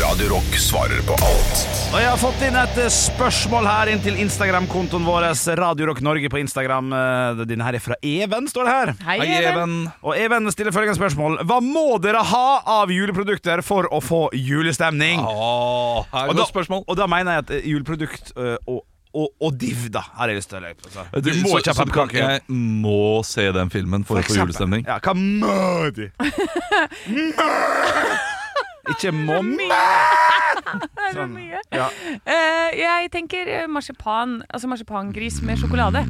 [SPEAKER 4] Radio Rock svarer på alt.
[SPEAKER 6] Og jeg har fått inn et eh, spørsmål her inn til Instagram-kontoen vår, Radiorock Norge på Instagram. Eh, Denne her er fra Even, står det her.
[SPEAKER 8] Hei, Hei, Even.
[SPEAKER 6] Og Even stiller følgende spørsmål. Hva må dere ha av juleprodukter for å få julestemning?
[SPEAKER 8] Åh, her
[SPEAKER 6] og,
[SPEAKER 8] går
[SPEAKER 6] da, og da mener jeg at eh, juleprodukt eh, og og, og div, da, har jeg lyst til å løpe. Altså.
[SPEAKER 8] Du,
[SPEAKER 6] Du må
[SPEAKER 8] så-
[SPEAKER 6] ikke ha
[SPEAKER 8] så
[SPEAKER 6] pepperkaker.
[SPEAKER 8] Jeg må se den filmen
[SPEAKER 6] For
[SPEAKER 8] for, å få
[SPEAKER 6] eksempel.
[SPEAKER 8] julestemning.
[SPEAKER 6] Ja, hva må de? Ikke må
[SPEAKER 5] Det er så
[SPEAKER 6] Sånn.
[SPEAKER 5] mye.
[SPEAKER 6] Ja.
[SPEAKER 5] Eh, jeg tenker eh, marsipan, altså marsipangris med sjokolade.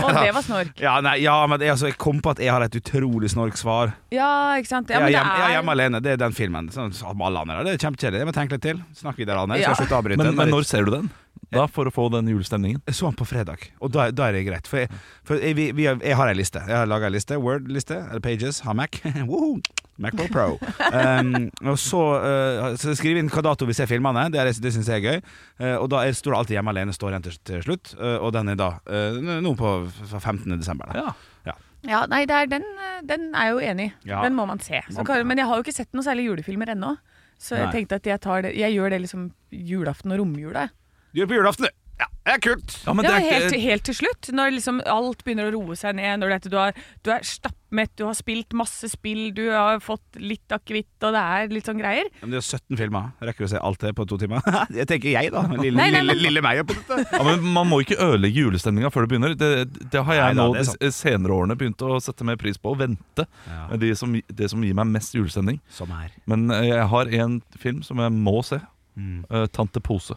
[SPEAKER 5] Og det var snork.
[SPEAKER 6] Ja, nei, ja men jeg, altså, jeg kom på at jeg har et utrolig snorksvar.
[SPEAKER 5] Ja, ikke sant? Ja,
[SPEAKER 6] jeg, er
[SPEAKER 5] men det
[SPEAKER 6] hjemme, jeg er
[SPEAKER 5] er
[SPEAKER 6] hjemme alene. Det er den filmen. Sånn som alle andre. Det er kjempekjedelig. Jeg må tenke litt til. Snakk videre, Anne. Jeg skal
[SPEAKER 5] Ja.
[SPEAKER 6] slutte å avbryte.
[SPEAKER 8] Men, men når ser du den? Da For å få den julestemningen?
[SPEAKER 6] Jeg så den på fredag, og da, da er det greit. For jeg, for jeg, vi, vi, har- jeg har ei liste. Jeg har laga ei liste. Word-liste. eller Pages. Har Mac. Woho! Macbook Pro. Um, og så, uh, så skriv inn hva dato vi ser filmene. Det, er- det syns jeg er gøy. Uh, og da er, står det alltid hjemme alene står igjen til, til slutt. Uh, og den er da uh, nå på f- 15. desember. Da. Ja.
[SPEAKER 5] Ja, nei, det er den, eh, den er jeg jo enig i.
[SPEAKER 6] Ja.
[SPEAKER 5] Den må man se. Så,
[SPEAKER 6] Man-
[SPEAKER 5] Kari- men jeg har jo ikke sett noen særlig julefilmer ennå. Så jeg
[SPEAKER 6] Nei.
[SPEAKER 5] tenkte at jeg, tar det, jeg gjør det liksom julaften og romjula.
[SPEAKER 6] Gjør på julaften, du! Ja, det er kult!
[SPEAKER 5] det var helt, til- helt til slutt, når liksom alt begynner å roe seg ned. Når det, er at du, har, du er stappmett, du har spilt masse spill, du har fått litt akevitt, og det er litt sånn greier.
[SPEAKER 6] Men det er 17 filmer. Rekker du å se alt det på to timer? det tenker jeg, da. Lille,
[SPEAKER 5] Nei, nei,
[SPEAKER 6] lille,
[SPEAKER 5] men-
[SPEAKER 6] lille meg oppi dette.
[SPEAKER 8] Ja, men Man må ikke ødelegge julestemninga før det begynner. Det, det har jeg
[SPEAKER 6] Nei da,
[SPEAKER 8] nå
[SPEAKER 6] det
[SPEAKER 8] de
[SPEAKER 6] er
[SPEAKER 8] s- senere årene begynt å sette mer pris på. Å vente. med Det, som, det som gir meg mest julestemning.
[SPEAKER 6] Som er.
[SPEAKER 8] Men eh, jeg har en film som jeg må se.
[SPEAKER 6] Mm.
[SPEAKER 8] Eh, 'Tante Pose'.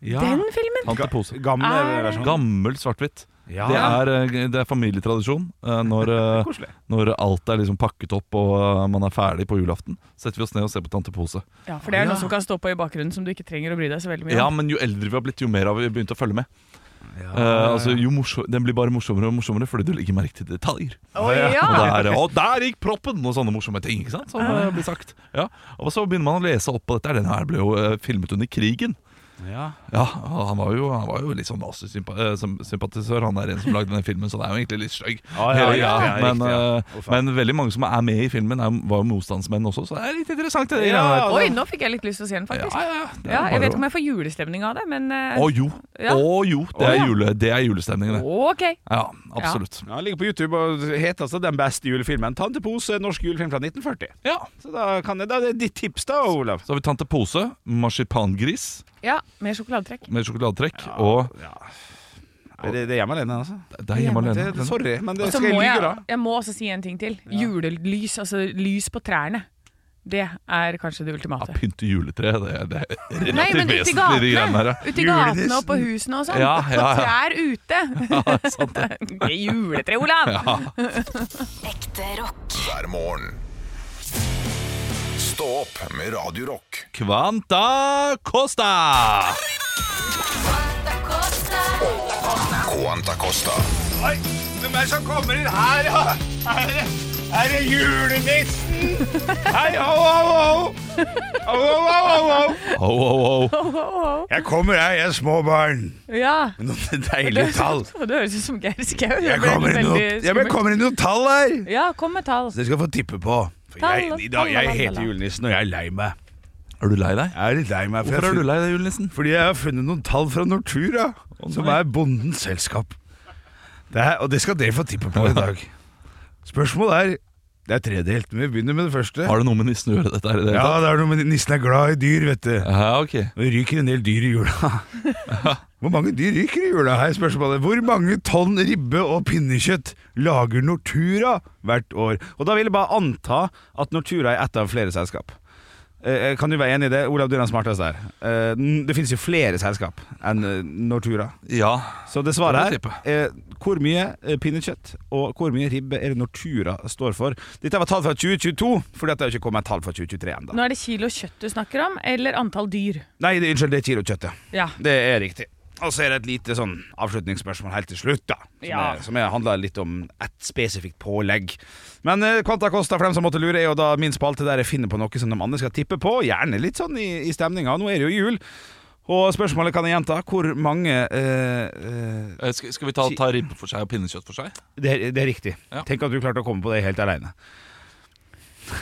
[SPEAKER 5] Den filmen?
[SPEAKER 8] Tante Pose.
[SPEAKER 6] Gammel Er det- versjon.
[SPEAKER 8] Gammel svart-hvitt.
[SPEAKER 6] Ja.
[SPEAKER 8] Det, er, eh, det er familietradisjon. eh, Når, eh, når alt er liksom pakket opp og eh, man er ferdig på julaften, setter vi oss ned og ser på Tante Pose.
[SPEAKER 5] Ja, for det er
[SPEAKER 8] Ja.
[SPEAKER 5] noe som kan stå på i bakgrunnen som du ikke trenger å bry deg så veldig mye
[SPEAKER 8] Ja,
[SPEAKER 5] om.
[SPEAKER 8] men jo eldre vi har blitt, jo mer har vi begynt å følge med.
[SPEAKER 6] Ja,
[SPEAKER 8] Eh, altså, jo morsom, den blir bare morsommere og morsommere fordi du legger merke til detaljer.
[SPEAKER 5] Å, ja.
[SPEAKER 8] Og det er, «Å, der gikk proppen! Og sånne morsomme ting. ikke sant? Som eh, blir sagt. Ja. Og så begynner man å lese opp på dette. Den her ble jo eh, filmet under krigen.
[SPEAKER 6] Ja.
[SPEAKER 8] Ja, og han var jo, han var jo litt sånn nazisympatisør, han der en som lagde den filmen, så det er jo egentlig litt stygg.
[SPEAKER 6] Ja, ja, ja,
[SPEAKER 8] Hele greia.
[SPEAKER 6] ja,
[SPEAKER 8] men,
[SPEAKER 6] riktig, ja.
[SPEAKER 8] eh, men veldig mange som er med i filmen, er, var jo motstandsmenn også, så det er litt interessant. Det,
[SPEAKER 5] Ja,
[SPEAKER 8] greiene der.
[SPEAKER 5] Oi, nå fikk jeg litt lyst til å se den, faktisk.
[SPEAKER 8] Ja,
[SPEAKER 5] ja,
[SPEAKER 8] er bare
[SPEAKER 5] jeg vet
[SPEAKER 8] å-
[SPEAKER 5] ikke om jeg får julestemning av det, men eh,
[SPEAKER 8] Å jo!
[SPEAKER 5] Ja.
[SPEAKER 8] Å jo! Det
[SPEAKER 5] Å,
[SPEAKER 8] er,
[SPEAKER 5] ja.
[SPEAKER 8] jule, det er julestemningen, det.
[SPEAKER 5] Ok.
[SPEAKER 8] Ja, absolutt.
[SPEAKER 6] Ja, jeg ligger på YouTube og heter altså Den beste julefilmen. Tante Pose, norsk julefilm fra 1940.
[SPEAKER 8] Ja,
[SPEAKER 6] Så da kan jeg, da, det er ditt tips, da, Olav.
[SPEAKER 8] Så har vi Tante Pose, marsipangris
[SPEAKER 5] Ja, med sjokoladetrekk.
[SPEAKER 8] med sjokoladetrekk og
[SPEAKER 6] Nei, Det, det er hjemme alene, altså.
[SPEAKER 8] Det er hjemme alene.
[SPEAKER 6] Det- altså. det- sorry, men det
[SPEAKER 5] Og så
[SPEAKER 6] skal jeg
[SPEAKER 5] må
[SPEAKER 6] lyve, da.
[SPEAKER 5] Jeg må også si en ting til. Julelys, altså lys på trærne. Det er kanskje det ultimate.
[SPEAKER 8] Pynte juletre, det, er- det er
[SPEAKER 5] Nei, men
[SPEAKER 8] relativt
[SPEAKER 5] ute i
[SPEAKER 8] vesentlig, de greiene
[SPEAKER 5] gatene
[SPEAKER 8] der.
[SPEAKER 5] Ute i gatene og på husene og sånn.
[SPEAKER 8] Ja, ja,
[SPEAKER 5] På
[SPEAKER 8] ja.
[SPEAKER 5] trær ute.
[SPEAKER 8] Ja, sant det.
[SPEAKER 5] Det er juletre, Olav!
[SPEAKER 8] Ja.
[SPEAKER 7] Ekte rock.
[SPEAKER 4] hver morgen. Stå opp med Radio Rock.
[SPEAKER 8] Quanta Costa!
[SPEAKER 4] Quanta Costa.
[SPEAKER 6] Oi, hvem er det som kommer inn her, da? Er det, er det julenissen? Hei, ho, ho, ho. Ho, ho, ho, ho, ho.
[SPEAKER 8] Ho, ho, ho.
[SPEAKER 5] Ho, ho, ho.
[SPEAKER 6] Jeg kommer, jeg. Jeg er små barn.
[SPEAKER 5] Ja.
[SPEAKER 6] Med noen
[SPEAKER 5] Det
[SPEAKER 6] deilige tall.
[SPEAKER 5] høres- Det høres ut som Geir Skau. Det
[SPEAKER 6] Jeg
[SPEAKER 5] ble
[SPEAKER 6] kommer inn
[SPEAKER 5] veldig
[SPEAKER 6] noen, jeg bare
[SPEAKER 5] skummelt.
[SPEAKER 6] kommer inn noen tall her.
[SPEAKER 5] Ja, kom med tall.
[SPEAKER 6] Så dere skal få tippe på. For jeg, i dag, jeg heter julenissen, og jeg er lei meg.
[SPEAKER 8] Er du lei deg?
[SPEAKER 6] Jeg er litt lei meg.
[SPEAKER 8] Hvorfor er du lei deg, julenissen?
[SPEAKER 6] Fordi jeg har funnet noen tall fra Nortura, som er bondens selskap. Det er, og det skal dere få tippe på i dag. Spørsmålet er Det er tredelt, men vi begynner med det første.
[SPEAKER 8] Har det noe med nissen å gjøre, dette her? i det hele
[SPEAKER 6] ja,
[SPEAKER 8] tatt?
[SPEAKER 6] det er noe med nissen er glad i dyr, vet du.
[SPEAKER 8] Ja, ok.
[SPEAKER 6] Og det ryker en del dyr i jula. Hvor mange dyr ryker i jula? Her er spørsmålet. Hvor mange tonn ribbe og pinnekjøtt lager Nortura hvert år? Og da vil jeg bare anta at Nortura er ett av flere selskap. Eh, kan du være enig i det? Olav, du er den smarteste her. Eh, n- det finnes jo flere selskap enn eh, Nortura.
[SPEAKER 8] Ja.
[SPEAKER 6] Så det svaret her er hvor mye eh, pinnekjøtt og hvor mye ribbe er det Nortura står for? Dette var tall fra 2022, for dette har jo ikke kommet tall fra 2023 ennå.
[SPEAKER 5] Nå er det kilo kjøtt du snakker om, eller antall dyr.
[SPEAKER 6] Nei, det, unnskyld, det er kilokjøttet.
[SPEAKER 5] Ja.
[SPEAKER 6] Det er riktig. Og så er det et lite sånn avslutningsspørsmål helt til slutt, da. Som,
[SPEAKER 5] Ja.
[SPEAKER 6] er, som er, handler litt om ett spesifikt pålegg. Men eh, Quanta Costa for dem som måtte lure, er jo da minst på alt det der jeg finner på noe som de andre skal tippe på. Gjerne litt sånn i, i stemninga. Nå er det jo jul. Og spørsmålet kan jeg gjenta. Hvor mange eh, eh,
[SPEAKER 8] Eh, Skal, skal vi ta, ta ribbe for seg og pinnekjøtt for seg?
[SPEAKER 6] det, er, det er riktig. Tenk at du klarte å komme på det helt aleine.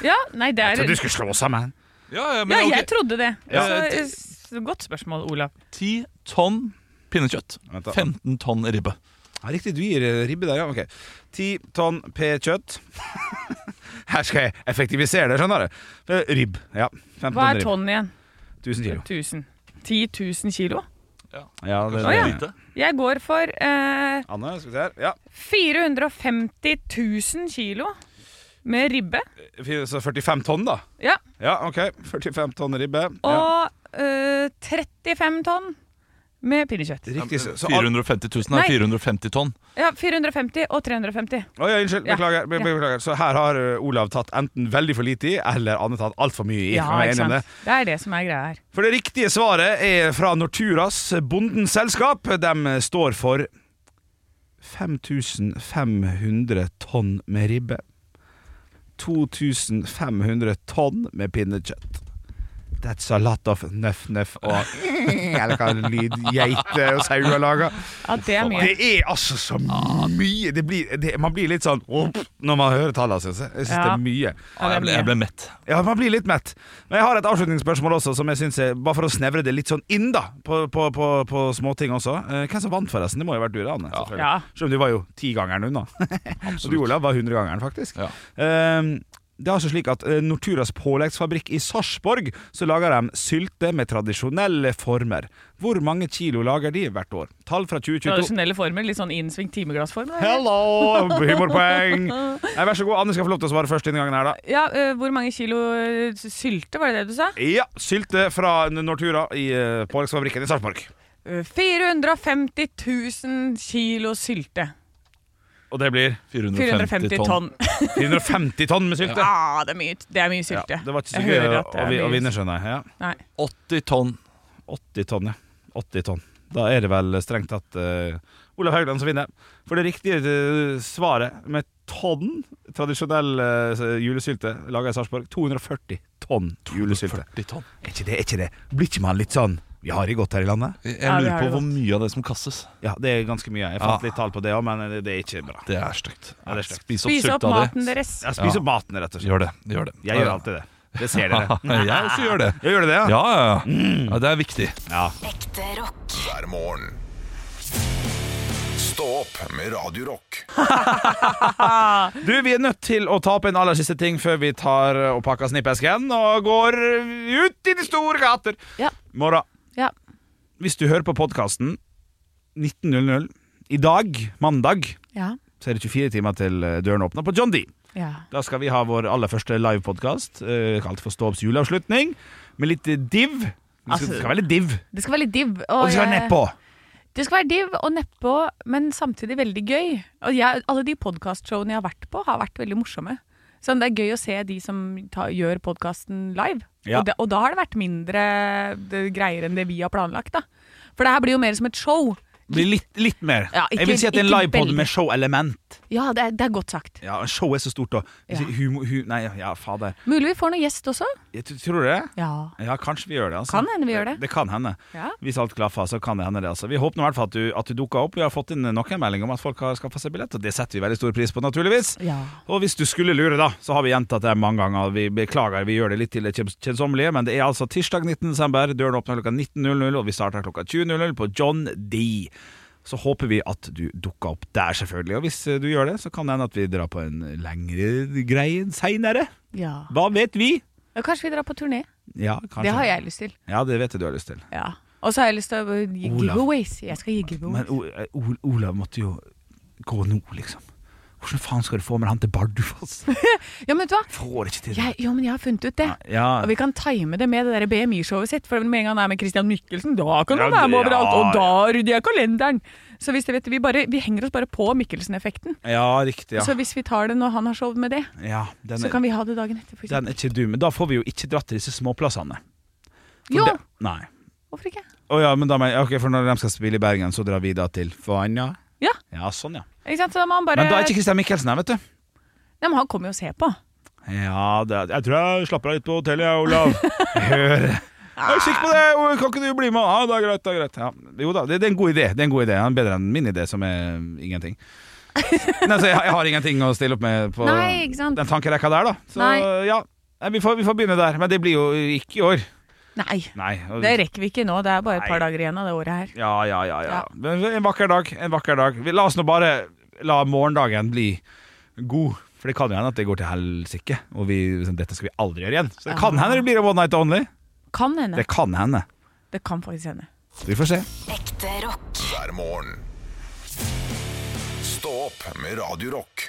[SPEAKER 5] Ja, nei, det er
[SPEAKER 6] Jeg trodde du skulle slå sammen.
[SPEAKER 8] Ja,
[SPEAKER 5] Ja, jeg trodde det.
[SPEAKER 8] Ja.
[SPEAKER 5] Så, s- godt spørsmål, Olav.
[SPEAKER 8] 10 tonn pinnekjøtt. 15 tonn ribbe.
[SPEAKER 6] Ja, riktig, du gir eh, ribbe der, ja. Ok. Ti tonn P-kjøtt. Her skal jeg effektivisere det, skjønner du. Eh, Ribb. Ja. 15
[SPEAKER 5] Hva
[SPEAKER 6] tonn
[SPEAKER 5] er
[SPEAKER 6] ribb.
[SPEAKER 5] tonn igjen?
[SPEAKER 6] 1000 kilo.
[SPEAKER 5] 1000. 10 000 kilo?
[SPEAKER 6] Ja, det,
[SPEAKER 5] Å, ja.
[SPEAKER 6] det.
[SPEAKER 5] Jeg går for eh,
[SPEAKER 6] Anne, skal vi se her. Ja.
[SPEAKER 5] 450 000 kilo med ribbe.
[SPEAKER 6] Fy- Så 45 tonn, da.
[SPEAKER 5] Ja.
[SPEAKER 6] Ja, OK. 45 tonn ribbe.
[SPEAKER 5] Og
[SPEAKER 6] Ja.
[SPEAKER 5] eh, 35 tonn med pinnekjøtt.
[SPEAKER 6] Riktig. Så, så,
[SPEAKER 8] 450 000
[SPEAKER 5] Nei.
[SPEAKER 8] er 450 tonn.
[SPEAKER 5] Ja, 450 og 350.
[SPEAKER 6] Å ja, unnskyld.
[SPEAKER 5] Ja.
[SPEAKER 6] Beklager. be-
[SPEAKER 5] Ja.
[SPEAKER 6] beklager. Så her har ø, Olav tatt enten veldig for lite i, eller Anne tatt altfor mye i.
[SPEAKER 5] Ja,
[SPEAKER 6] Kan vi være
[SPEAKER 5] ikke
[SPEAKER 6] enige om
[SPEAKER 5] sant.
[SPEAKER 6] det?
[SPEAKER 5] Det er det som er greia her.
[SPEAKER 6] For det riktige svaret er fra Norturas Bondens Selskap. De står for 5500 tonn med ribbe. 2500 tonn med pinnekjøtt. That's a lot of nøff-nøff og Eller hva lyd geiter og sauer lager.
[SPEAKER 5] Ja, det er mye.
[SPEAKER 6] Det er altså så mye! Det blir, det, man blir litt sånn opp når man hører tallene. synes Jeg Jeg synes det
[SPEAKER 5] Ja.
[SPEAKER 6] er mye.
[SPEAKER 5] Ja, det er Jeg ble- jeg mye. ble
[SPEAKER 8] mett.
[SPEAKER 6] Ja, man blir litt mett. Men jeg har et avslutningsspørsmål også, som jeg synes er, bare for å snevre det litt sånn inn da på, på, på, på småting også. Eh, Hvem som vant, forresten? Det må jo ha vært du, da, Anne. selvfølgelig.
[SPEAKER 5] Ja.
[SPEAKER 6] Selv om du var jo tigangeren unna. Og du, Olav, var hundregangeren, faktisk.
[SPEAKER 8] Ja.
[SPEAKER 6] Ehm, det er altså slik at eh, Norturas påleggsfabrikk i Sarpsborg Så lager de sylte med tradisjonelle former. Hvor mange kilo lager de hvert år? Tall fra 2022.
[SPEAKER 5] Tradisjonelle former. Litt sånn innsvingt timeglassform. da, eller?
[SPEAKER 6] Hello! Humorpoeng! Nei, vær så god, Anne skal få lov til å svare først denne gangen her, da.
[SPEAKER 5] Ja, eh, Hvor mange kilo eh, sylte, var det det du sa?
[SPEAKER 6] Ja, sylte fra Nortura i eh, påleggsfabrikken i Sarpsborg.
[SPEAKER 5] Eh, 450 000 kilo sylte.
[SPEAKER 6] Og det blir
[SPEAKER 5] 450 tonn.
[SPEAKER 6] 450 tonn med sylte.
[SPEAKER 5] Ja, det er mye, det er mye sylte.
[SPEAKER 6] Det var ikke så
[SPEAKER 5] Jeg
[SPEAKER 6] gøy å,
[SPEAKER 5] hører at det er
[SPEAKER 6] vi- å
[SPEAKER 5] mye-
[SPEAKER 6] vinne, skjønner jeg. Ja.
[SPEAKER 5] Nei.
[SPEAKER 8] 80 tonn.
[SPEAKER 6] 80 tonn, ja. 80 tonn. Da er det vel strengt tatt eh, Olav Haugland som vinner. For det riktige eh, svaret med tonn tradisjonell eh, julesylte laga i Sarpsborg 240 tonn julesylte. Er ikke det, er ikke det? Blir ikke man litt sånn Vi har det godt her i landet?
[SPEAKER 8] Jeg lurer på hvor mye av det som kastes.
[SPEAKER 6] Ja, det er ganske mye. Jeg fant litt tall på det òg, men det, det er ikke bra.
[SPEAKER 8] Det er stygt.
[SPEAKER 6] Ja, det er stygt.
[SPEAKER 8] Spis opp
[SPEAKER 5] Spis opp
[SPEAKER 8] sulta di.
[SPEAKER 5] maten deres.
[SPEAKER 6] Ja, spis opp maten, rett og slett.
[SPEAKER 8] Gjør det. gjør det
[SPEAKER 6] Jeg gjør alltid det. Det ser dere.
[SPEAKER 8] jeg også gjør det.
[SPEAKER 6] Ja, Mm. gjør det det, ja?
[SPEAKER 8] Ja, ja, ja. ja det er viktig.
[SPEAKER 7] Ekte rock.
[SPEAKER 4] hver morgen. Stå opp med Radio Rock.
[SPEAKER 6] Du, Vi er nødt til å ta opp en aller siste ting før vi tar eh, og pakker snippesken og går eh, ut i de store gater.
[SPEAKER 5] Ja.
[SPEAKER 6] Mora,
[SPEAKER 5] Ja.
[SPEAKER 6] hvis du hører på podkasten 19.00 i dag, mandag,
[SPEAKER 5] Ja.
[SPEAKER 6] så er det 24 timer til eh, døren åpner på John D.
[SPEAKER 5] ja.
[SPEAKER 6] Da skal vi ha vår aller første livepodkast, eh, kalt for Ståops juleavslutning, med litt div. Det skal,
[SPEAKER 5] Altså-
[SPEAKER 6] det skal være litt div.
[SPEAKER 5] Det skal være litt div.
[SPEAKER 6] Og det skal være
[SPEAKER 5] jeg-
[SPEAKER 6] nedpå.
[SPEAKER 5] Det skal være div og nedpå, men samtidig veldig gøy. Og jeg, alle de podkastshowene jeg har vært på, har vært veldig morsomme. Sånn, det er gøy å se de som ta, gjør podkasten live.
[SPEAKER 12] Ja.
[SPEAKER 5] Og, da- og da har det vært mindre det, greier enn det vi har planlagt. da. For det her blir jo mer som et show.
[SPEAKER 6] Blir litt, litt mer.
[SPEAKER 5] Ja, ikke-
[SPEAKER 6] jeg vil si at det er en
[SPEAKER 5] ikke
[SPEAKER 6] livepod
[SPEAKER 5] veldig.
[SPEAKER 6] med show-element.
[SPEAKER 5] Ja, det er, det er godt sagt.
[SPEAKER 6] Ja, show er så stort, da. Hvis
[SPEAKER 5] Ja.
[SPEAKER 6] Humor, hu, nei, ja, fader.
[SPEAKER 5] Mulig vi får noen gjest også.
[SPEAKER 6] Jeg t- Tror du det?
[SPEAKER 5] Ja.
[SPEAKER 6] Ja, kanskje vi gjør det. Altså.
[SPEAKER 5] Kan hende vi gjør det.
[SPEAKER 6] Det kan hende.
[SPEAKER 5] Ja.
[SPEAKER 6] Hvis alt klaffer, så kan det hende det. Altså. Vi håper nå i hvert fall at du, at du dukker opp. Vi har fått inn noen meldinger om at folk har skaffa seg billett, og det setter vi veldig stor pris på, naturligvis.
[SPEAKER 5] Ja.
[SPEAKER 6] Og hvis du skulle lure, da, så har vi gjentatt det mange ganger. Vi beklager, vi gjør det litt til det kjems- kjedsommelige, men det er altså tirsdag 19. desember. Døren åpner klokka 19.00, og vi starter klokka 20.00 på John D. Så håper vi at du dukker opp der, selvfølgelig. Og hvis eh, du gjør det, så kan det hende at vi drar på en lengre greie seinere.
[SPEAKER 5] Ja.
[SPEAKER 6] Hva vet vi?
[SPEAKER 5] Ja, Kanskje vi drar på turné.
[SPEAKER 6] Ja, kanskje.
[SPEAKER 5] Det har jeg lyst til.
[SPEAKER 6] Ja, det vet jeg du har lyst til.
[SPEAKER 5] Ja. Og så har jeg lyst til å gi
[SPEAKER 6] Olav.
[SPEAKER 5] giveaways. Jeg skal gi giveaways.
[SPEAKER 6] Men O- eh, Ol- Olav måtte jo gå nå, liksom. Hvordan faen skal du få med han til Bardufoss?
[SPEAKER 5] Ja, men vet du hva?
[SPEAKER 6] Får ikke til det.
[SPEAKER 5] Jeg, jo, men jeg har funnet ut det.
[SPEAKER 6] Ja.
[SPEAKER 5] Og vi kan time det med det der BMI-showet sitt. For med en gang han er med Christian Mikkelsen, da kan han
[SPEAKER 6] Ja,
[SPEAKER 5] være med overalt!
[SPEAKER 6] ja,
[SPEAKER 5] Og da rydder jeg kalenderen! Så hvis det, vet du, vi, bare, vi henger oss bare på Mikkelsen-effekten.
[SPEAKER 6] Ja, riktig. Ja.
[SPEAKER 5] Så hvis vi tar det når han har show med det,
[SPEAKER 6] ja, den,
[SPEAKER 5] så
[SPEAKER 6] er,
[SPEAKER 5] kan vi ha det dagen etter. for eksempel.
[SPEAKER 6] den er ikke dum. Men da får vi jo ikke dratt til disse småplassene. For
[SPEAKER 5] Jo!
[SPEAKER 6] det- Nei.
[SPEAKER 5] Hvorfor ikke?
[SPEAKER 6] Å ja, men da mener jeg Ok, for når de skal spille i Bergen, så drar vi da til Fania?
[SPEAKER 5] Ja.
[SPEAKER 6] Ja, sånn, ja.
[SPEAKER 5] ikke sant? Så da må han bare
[SPEAKER 6] Men da er ikke Christian Mikkelsen her, vet du.
[SPEAKER 5] Nei, men han kommer jo og ser på.
[SPEAKER 6] Ja, det, er- jeg tror jeg slapper av litt på hotellet, jeg, Olav. Hør. Jeg er sikker på det!
[SPEAKER 5] Ah.
[SPEAKER 6] Ole, Kan ikke du bli med? Ja, det er greit. det er greit ja. Jo da, det, det er en god idé. Det er en god idé Den er Bedre enn min idé, som er ingenting. Nei, så jeg, jeg har ingenting å stille opp med på
[SPEAKER 5] Nei, ikke sant?
[SPEAKER 6] den tankerekka der, da. Så
[SPEAKER 5] Nei.
[SPEAKER 6] ja, Nei, vi får, vi får begynne der. Men det blir jo ikke i år.
[SPEAKER 5] Nei.
[SPEAKER 6] Nei. og-
[SPEAKER 5] Det rekker vi ikke nå. Det er bare et par
[SPEAKER 6] Nei.
[SPEAKER 5] dager igjen av det året her.
[SPEAKER 6] Ja, ja, ja. ja.
[SPEAKER 5] Ja.
[SPEAKER 6] Men En vakker dag. En vakker dag. Vi- La oss nå bare la morgendagen bli god. For det kan jo hende at det går til helsike, og vi, liksom, dette skal vi aldri gjøre igjen. Så det kan hende det blir en one night only.
[SPEAKER 5] Kan hende.
[SPEAKER 6] Det kan hende.
[SPEAKER 5] Det kan faktisk hende.
[SPEAKER 6] Vi får se.
[SPEAKER 13] Ekte rock.
[SPEAKER 4] hver morgen. Stå opp med Radio Rock.